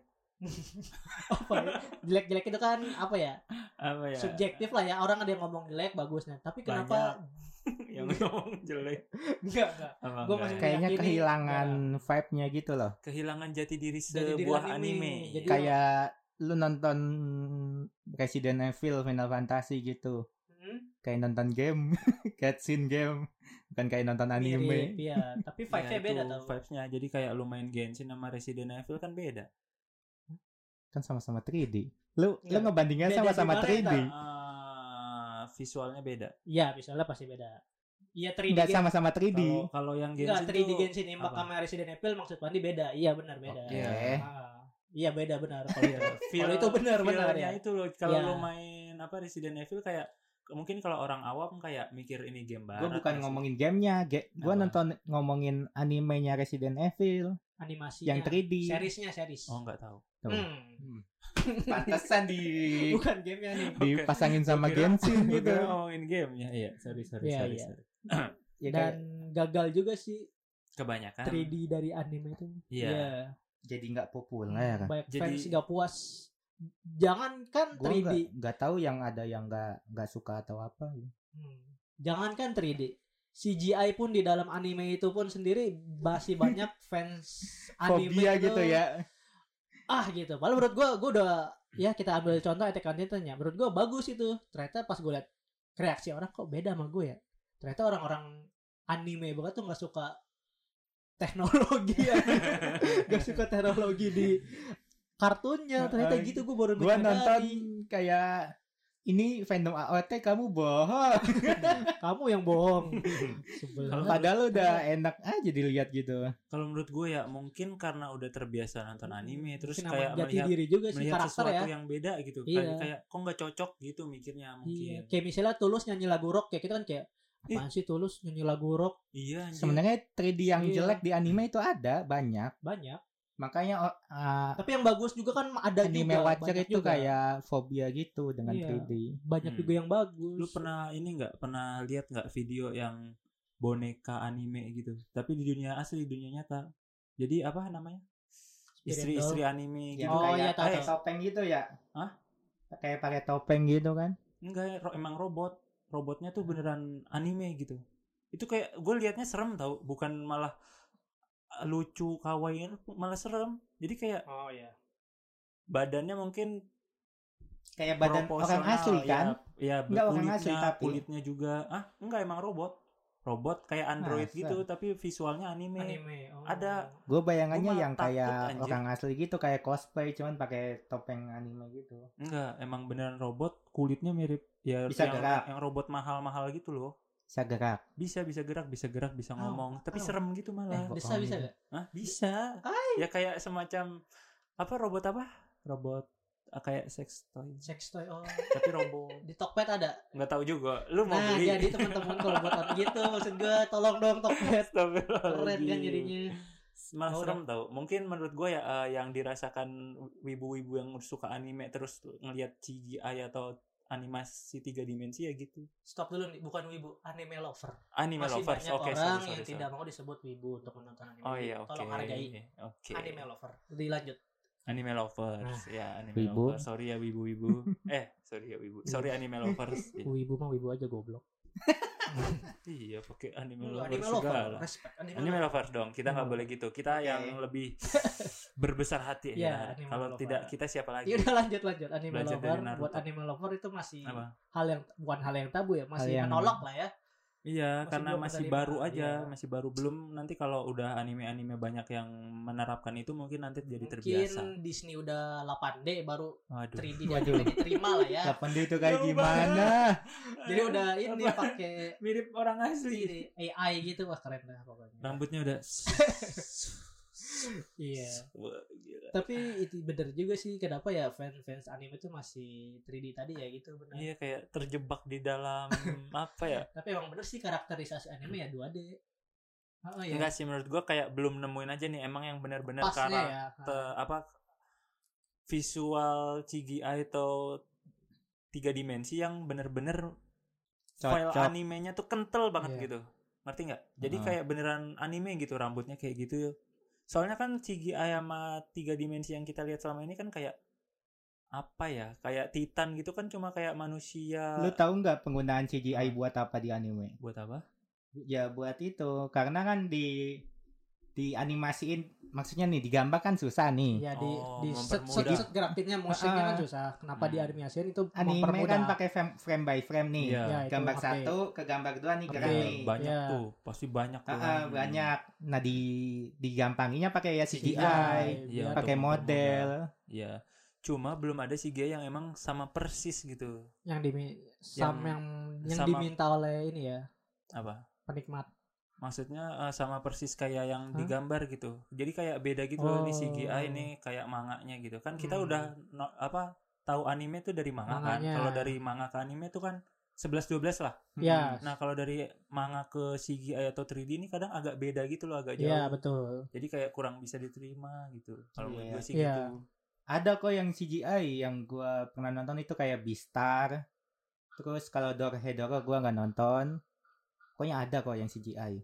apa ya? jelek-jelek itu kan apa ya apa ya? subjektif lah ya orang ada yang ngomong jelek bagusnya tapi kenapa yang ngomong jelek. enggak enggak Apa Gua enggak masih- ya? Kayaknya Meyakini, kehilangan ya. vibe-nya gitu loh. kehilangan jati diri Jati diri sebuah anime. anime. Jadi- Iya. kayak lu nonton Resident Evil Final Fantasy gitu Hmm, kayak nonton game cutscene game bukan kayak Iya, nonton mirip, anime ya tapi vibe-nya Ya, beda itu tau vibes-nya. Jadi kayak lu main Genshin sama Resident Evil kan beda. kan sama-sama 3D lu lu Iya. ngebandingnya Beda sama-sama gimana, 3D Ah, visualnya beda. iya misalnya pasti beda iya 3D nggak gen- sama-sama 3D Kalau kalau yang enggak Genshin 3D tuh Genshin Impact apa? sama Resident Evil maksud Pandi beda iya benar beda Oke. Ah, iya beda benar kalau itu feel- kalau Oh, itu benar benar feel-nya ya itu loh kalau Ya. lu main apa Resident Evil kayak mungkin kalau orang awam kayak mikir ini game barat. gue bukan masih- ngomongin gamenya ge- gue Apa? nonton ngomongin animenya Resident Evil animasinya yang 3D seriesnya series Oh, enggak tahu. Tuh. Hmm. pantesan di bukan gamenya nih dipasangin sama Gua kira- Genshin Gua gitu kira ngomongin game ya. Iya, sorry sorry Iya, sorry, iya. sorry. Ya, kayak dan gagal juga sih Kebanyakan 3D dari anime itu Ah. Iya. jadi nggak populer banyak Jadi- fans gak puas jangankan gue 3D nggak nggak tahu yang ada yang nggak nggak suka atau apa Hmm. jangankan 3D CGI pun di dalam anime itu pun sendiri masih banyak fans anime fobia itu, gitu ya ah gitu padahal menurut gua gua udah ya kita ambil contoh Attack on Titan ya menurut gua bagus itu ternyata pas gua liat reaksi orang kok beda sama gue ya ternyata orang-orang anime banget tuh nggak suka teknologi ya nggak suka teknologi di kartunnya ternyata Heeh. gitu gua baru gue menyadari. nonton kayak ini fandom AOT kamu bohong kamu yang bohong Sebel. Kalau padahal udah enak aja dilihat gitu Kalau menurut gue ya mungkin karena udah terbiasa nonton anime terus Kenapa kayak jati melihat diri juga sih melihat karakter sesuatu ya yang beda gitu Iya. kayak, kayak kok nggak cocok gitu mikirnya iya. mungkin kayak misalnya tulus nyanyi lagu rock kayak kita kan kayak apaan sih tulus nyanyi lagu rock iya anjir. sebenarnya 3D yang Iya. jelek di anime itu ada banyak banyak makanya o- ah, tapi yang bagus juga kan ada anime juga watcher banyak itu juga. kayak fobia gitu dengan Iya. 3D banyak Hmm. juga yang bagus lu pernah ini nggak pernah lihat nggak video yang boneka anime gitu tapi di dunia asli di dunia nyata jadi apa namanya Spirit istri-istri anime yang gitu Oh, kayak iya, tahu, kayak tahu. topeng gitu ya Hah? kayak pakai topeng gitu kan Enggak, ro- emang robot. Robotnya tuh beneran anime gitu. Itu kayak gue liatnya serem tau, bukan malah uh, lucu kawaii eh, malah serem. Jadi kayak Oh iya. badannya mungkin kayak badan orang proporsional, asli ya. kan Ya, Enggak orang kulitnya, asli, tapi. kulitnya juga. Ah, enggak emang robot. Robot kayak android Masa? gitu, tapi visualnya anime. Anime. Oh. Ada. gue bayangannya Gua malah yang kayak takut, anjir. orang asli gitu kayak cosplay cuman pakai topeng anime gitu Enggak, emang beneran robot, kulitnya mirip ya Bisa yang, gerak. yang robot mahal-mahal gitu loh. bisa gerak Bisa bisa gerak, bisa gerak, bisa Au, ngomong, tapi au. serem Eh, gitu malah. kok Bisa bisa kamu- gak? Hah, bisa. Ya kayak semacam apa robot apa? Robot ah, kayak sex toy. Sex toy. Oh. Tapi robot. Di Tokped ada. Nggak tahu juga. Lu mau nah, beli? jadi teman-teman kalau buat out gitu maksud gue tolong dong Tokped. Astagfirullahaladzim. Keren kan jadinya. Malah Oh, serem tau. Mungkin menurut gue ya eh, yang dirasakan wibu-wibu yang suka anime terus ngelihat CGI atau animasi tiga dimensi ya gitu. Stop dulu nih, bukan wibu, anime lover. Anime Masih lovers. banyak Oke, orang sorry, sorry, yang sorry. tidak mau disebut wibu untuk menonton anime. Oh iya, oke. Tolong hargai Oke. anime lover. Dilanjut. Anime lovers, ya anime Wibu. lovers. Sorry ya wibu-wibu. eh, sorry ya wibu. Sorry anime lovers. Ya. Wibu mah wibu aja goblok. Iya, pakai anime Lu lovers anime segala. lover, respect anime, Anime lover. lovers dong. Kita nggak Anime boleh gitu. Kita Oke. yang lebih berbesar hati Iya, ya. anime Kalau lover. tidak kita siapa lagi? Ya udah lanjut lanjut anime Belajar dari lover Naruto. buat anime lover itu masih Apa? hal yang bukan hal yang tabu ya, masih yang- menolak lah ya. Iya, Masih karena belum masih menerima, baru aja, iya. masih baru belum. Nanti kalau udah anime-anime banyak yang menerapkan itu mungkin nanti jadi Mungkin terbiasa. Disney udah 8D baru Waduh. 3D dan Waduh. diterima lah ya. Kapan dia itu kayak Jauh gimana? Jadi udah ini Apa? pakai mirip orang asli. ini AI gitu wah keren lah pokoknya. Rambutnya udah Iya. Wah, gila. Tapi itu bener juga sih kenapa ya fans-fans anime itu masih 3D tadi ya gitu benar. Iya kayak terjebak di dalam apa ya? Tapi emang bener sih karakterisasi anime ya 2D. Oh, iya. Enggak sih menurut gua kayak belum nemuin aja nih emang yang benar-benar pasnya karakter ya. apa visual CGI atau tiga dimensi yang benar-benar file Cocok. animenya tuh kental banget Iya. gitu ngerti nggak jadi Heeh. kayak beneran anime gitu rambutnya kayak gitu soalnya kan CGI sama tiga dimensi yang kita lihat selama ini kan kayak apa ya kayak Titan gitu kan cuma kayak manusia Lu tahu nggak penggunaan CGI buat apa di anime? buat apa Ya buat itu, karena kan di di animasiin, maksudnya nih digambar kan susah nih. Iya di Oh, di set set, mempermudah. set gerakinnya musiknya kan Ah. susah. Kenapa Hmm. di animasiin itu Anime mempermudah. Ya, kan pakai frame, frame by frame nih. Iya. Nah, itu Gambar HP. satu ke gambar dua nih Oke, gerak Iya, nih. banyak Iya. tuh pasti banyak tuh Ah, ah, Hmm. banyak. Nah di digampanginya pakai ya CGI, CGI, Iya, biar- untuk pakai model. ya cuma belum ada CGI yang emang sama persis gitu yang dimi sam yang yang sama- diminta oleh ini ya apa penikmat maksudnya eh, sama persis kayak yang Hah? digambar gitu jadi kayak beda gitu loh ini Oh. CGI ini kayak manganya gitu kan kita Hmm. udah no- apa tahu anime tuh dari manga Manganya. kan kalau dari manga ke anime tuh kan 11 12 lah Ya. nah kalau dari manga ke CGI atau 3D ini kadang agak beda gitu loh agak jauh Iya betul jadi kayak kurang bisa diterima gitu kalau menurut Iya. gue sih Iya. gitu ada kok yang CGI yang gua pernah nonton itu kayak Beastar terus kalau Dorohedoro gua nggak nonton pokoknya ada kok yang CGI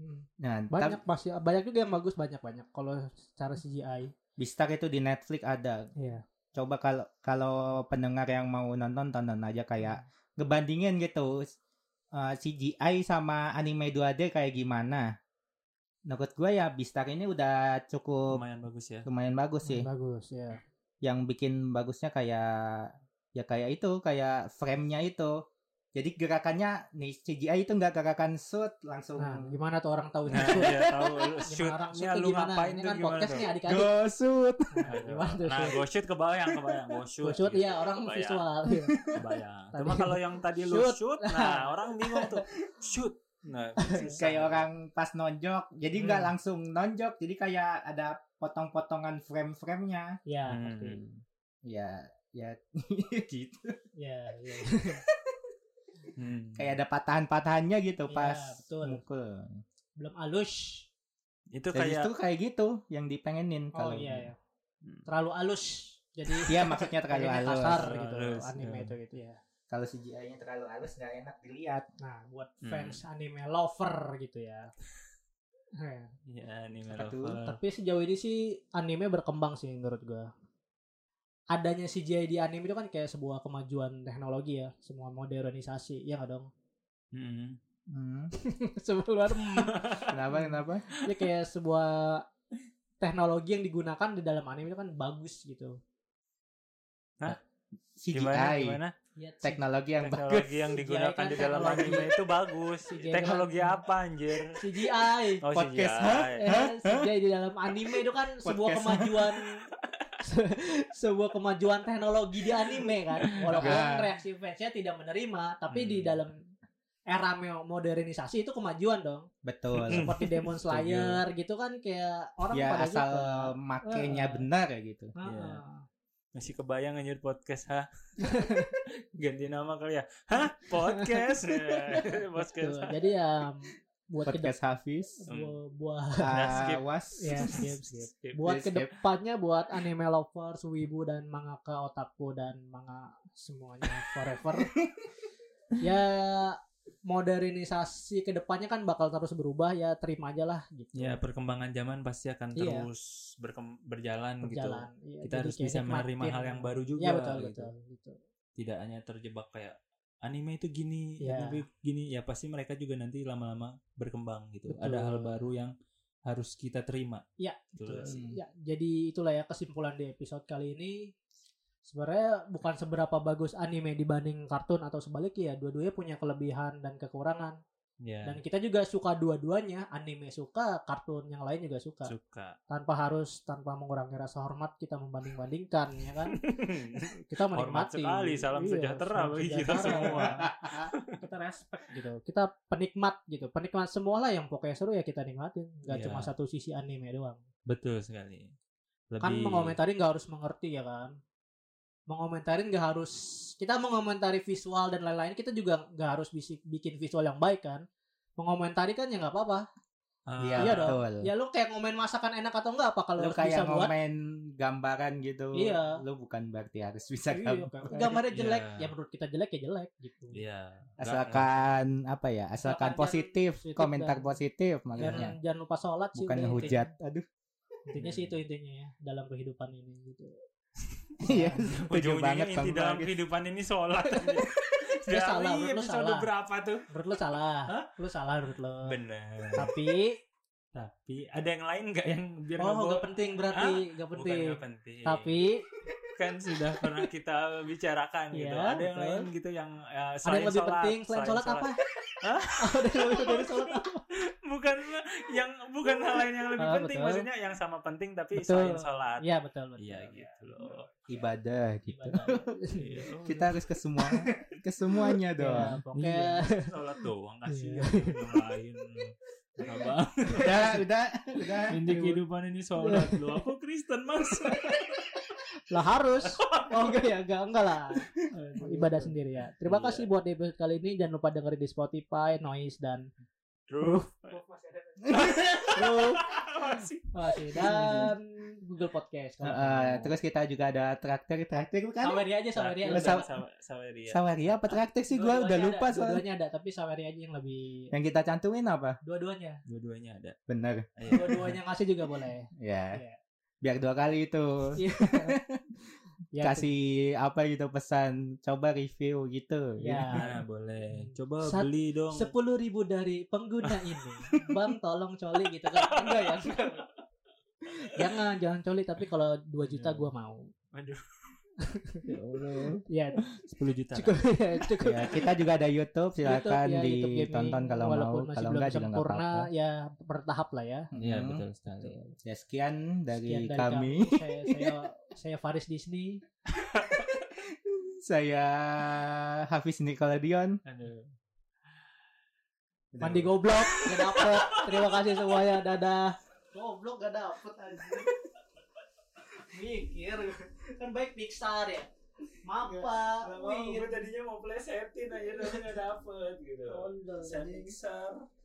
Hmm. nah tapi banyak pasti banyak juga yang bagus banyak banyak kalau secara CGI Beastar itu di Netflix ada Iya. coba kalau kalau pendengar yang mau nonton tonton aja kayak ngebandingin gitu eh, CGI sama anime 2D kayak gimana menurut gua ya Beastar ini udah cukup lumayan bagus ya lumayan bagus sih bagus ya yang bikin bagusnya kayak ya kayak itu kayak frame-nya itu jadi gerakannya nih CGI itu nggak gerakan shoot langsung nah gimana tuh orang tahu nah shoot ya tahu lu Gimana shoot orang shoot ya tuh lu gimana? ngapain ini tuh kan gimana podcast tuh nih adik-adik go shoot Nah, gimana tuh nah shoot? gue shoot kebayang kebayang gue shoot Gua shoot gitu. ya orang Kebayang. visual iya. Kebayang. Tadi- Cuma kalau yang tadi lu Shoot. shoot, nah orang bingung tuh shoot. Nah, susah. kayak orang pas nonjok jadi nggak Hmm. langsung nonjok jadi kayak ada potong-potongan frame-framenya ya Hmm. ngerti. ya ya gitu ya iya. Hmm. kayak ada patahan-patahannya gitu Iya, pas betul. mukul belum alus itu Ya, kayak justru kayak gitu yang dipengenin oh kalau Hmm. iya ya terlalu alus jadi Iya, maksudnya terlalu iya. pengennya halus. kasar gitu Halus, anime ya. itu gitu ya kalau CGI-nya terlalu halus nggak enak dilihat Nah, buat Hmm. fans anime lover gitu ya. Eh, ya anime Apa tuh? lover. Tapi sejauh ini sih anime berkembang sih menurut gua. adanya CGI di anime itu kan kayak sebuah kemajuan teknologi ya, semua modernisasi, ya nggak dong? Mm-mm. Hmm. Sebelum Kenapa kenapa? ya kayak sebuah teknologi yang digunakan di dalam anime itu kan bagus gitu. CGI. Gimana? Gimana? Iya Ya, Teknologi yang bagus. Teknologi yang digunakan di dalam Teknologi. anime itu bagus. CGI. Teknologi apa anjir? CGI. Oh, Podcast, CGI. hah? Ya, CGI di dalam anime itu kan sebuah Podcast. kemajuan se- sebuah kemajuan teknologi di anime kan. Walaupun Ah. reaksi fansnya tidak menerima, tapi Hmm. di dalam era me- modernisasi itu kemajuan dong. Hmm. Betul. Seperti Demon Setuju. Slayer gitu kan kayak orang Hmm. ya pada gitu. asal suka. makainya Heeh. benar ya gitu. Ah, Iya. ah. Masih kebayang anjir podcast ha. Ganti nama kali ya. Hah? Podcast. Ya, Tuh, podcast. Ha. Jadi ya buat ke Podcast Hafiz. Hmm. bu- buat Nah, skip. Awas. ya skip, skip. Skip. buat skip. kedepannya buat anime lovers, wibu dan mangaka otaku dan manga semuanya forever. ya modernisasi kedepannya kan bakal terus berubah ya terima aja lah gitu. Ya, perkembangan zaman pasti akan Iya. terus berkem- berjalan, berjalan. gitu. Iya, Kita jadi harus kayak bisa menerima nikmatin. hal yang baru juga. Ya betul gitu. betul gitu. Tidak hanya terjebak kayak anime itu gini, Iya. anime gini. Ya pasti mereka juga nanti lama-lama berkembang gitu. Betul. Ada hal baru yang harus kita terima. Gitu Iya, Betul Betul. gak sih? Hmm. Ya, jadi itulah ya kesimpulan di episode kali ini. Sebenarnya bukan seberapa bagus anime dibanding kartun atau sebaliknya ya, dua-duanya punya kelebihan dan kekurangan. Ya, Dan kita juga suka dua-duanya, anime suka, kartun yang lain juga suka. suka. tanpa harus tanpa mengurangi rasa hormat kita membanding-bandingkan ya kan kita Hormat menikmati Iya, sekali, salam sejahtera salam bagi kita sejahtera. semua. kita respect gitu kita penikmat gitu penikmat semua lah yang pokoknya seru ya kita nikmatin nggak Iya. cuma satu sisi anime doang Betul sekali. Lebih kan mengomentari nggak harus mengerti ya kan mengomentari nggak harus kita mengomentari visual dan lain-lain kita juga nggak harus bisi- bikin visual yang baik kan mengomentari kan ya nggak apa-apa Ah, Iya Iya dong. betul. ya lu kayak ngomen masakan enak atau enggak apa kalau Lu harus kayak bisa buat ngomen gambaran gitu. Iya. Lu bukan berarti harus bisa Iya, gambar. kan. gambarnya Iya. jelek ya menurut kita jelek ya jelek gitu Iya. Asalkan apa ya? Asalkan Asalkan positif, positif kan. Iya, komentar dan- positif dan makanya. jangan lupa sholat sih Bukan udah Iya. hujat. Aduh. intinya, intinya sih itu intinya ya dalam kehidupan ini gitu Iya. ujung Setuju banget inti Bang dalam Bagis. kehidupan ini sholat. Lu salah, Dari lu episode salah. Eh. berapa tuh? menurut lo salah Hah? lo salah menurut lo Bener. tapi Tapi ada yang lain nggak yang biar oh nggak nggak bo- penting berarti nggak Bukan penting nggak penting. tapi kan sudah pernah kita bicarakan gitu. Iya, Ada yang betul. lain gitu yang eh, ada selain yang lebih sholat, penting selain sholat apa Hah? ada yang lebih penting dari sholat apa Bukan yang bukan hal lain yang lebih Ah, penting betul. maksudnya yang sama penting tapi selain Betul. sholat. iya betul betul Iya gitu loh. Ibadah gitu. Ibadah. Iya. Kita harus ke semua ke semuanya Ya, dong. Iya. pokoknya sholat doang kasih Iya. yang lain. Kenapa? Udah, udah, udah. Inti kehidupan ini sholat lu. Aku Kristen mas. lah harus oh enggak ya enggak enggak lah ibadah sendiri ya terima Iya. kasih buat episode kali ini jangan lupa dengerin di Spotify Noise dan Roof. Roof Masih. Masih, dan Google Podcast kalau Heeh, mau. terus kita juga ada traktir, traktir kan? Saweria aja Saweria Iya, Saweria. Lu aja. sama- Saweria. Sawaria apa traktir sih gue Dua-duanya udah ada, lupa soalnya. dua-duanya ada tapi Saweria aja yang lebih Yang kita cantumin apa? dua-duanya Dua-duanya ada. Bener. Ayo. dua-duanya kasih juga boleh Ya. Iya. Biar dua kali itu. Iya. Ya, Kasih apa gitu pesan, coba review gitu. ya Nah, boleh. Coba Sat- beli dong. sepuluh ribu dari pengguna ini bang tolong coli gitu kan enggak ya jangan jangan coli tapi kalau 2 juta gua mau Waduh, ya 10 juta. cukup ya, cukup Ya, kita juga ada YouTube, silakan YouTube ya, YouTube gaming, ditonton kalau mau, walaupun masih kalau belum enggak juga enggak sempurna apa-apa. ya bertahap lah ya lah. Mm. Iya, betul sekali. Ya, sekian Sekian dari, dari kami. saya, saya saya Faris Disney Saya Hafiz Nickelodeon. Aduh. mandi goblok gak dapet terima kasih semuanya dadah goblok gak dapet anjing mikir kan baik Pixar ya maaf pak Iya. Oh, Gak iya. mau, gue tadinya mau plesetin aja tapi gak dapet gitu. Saya Pixar.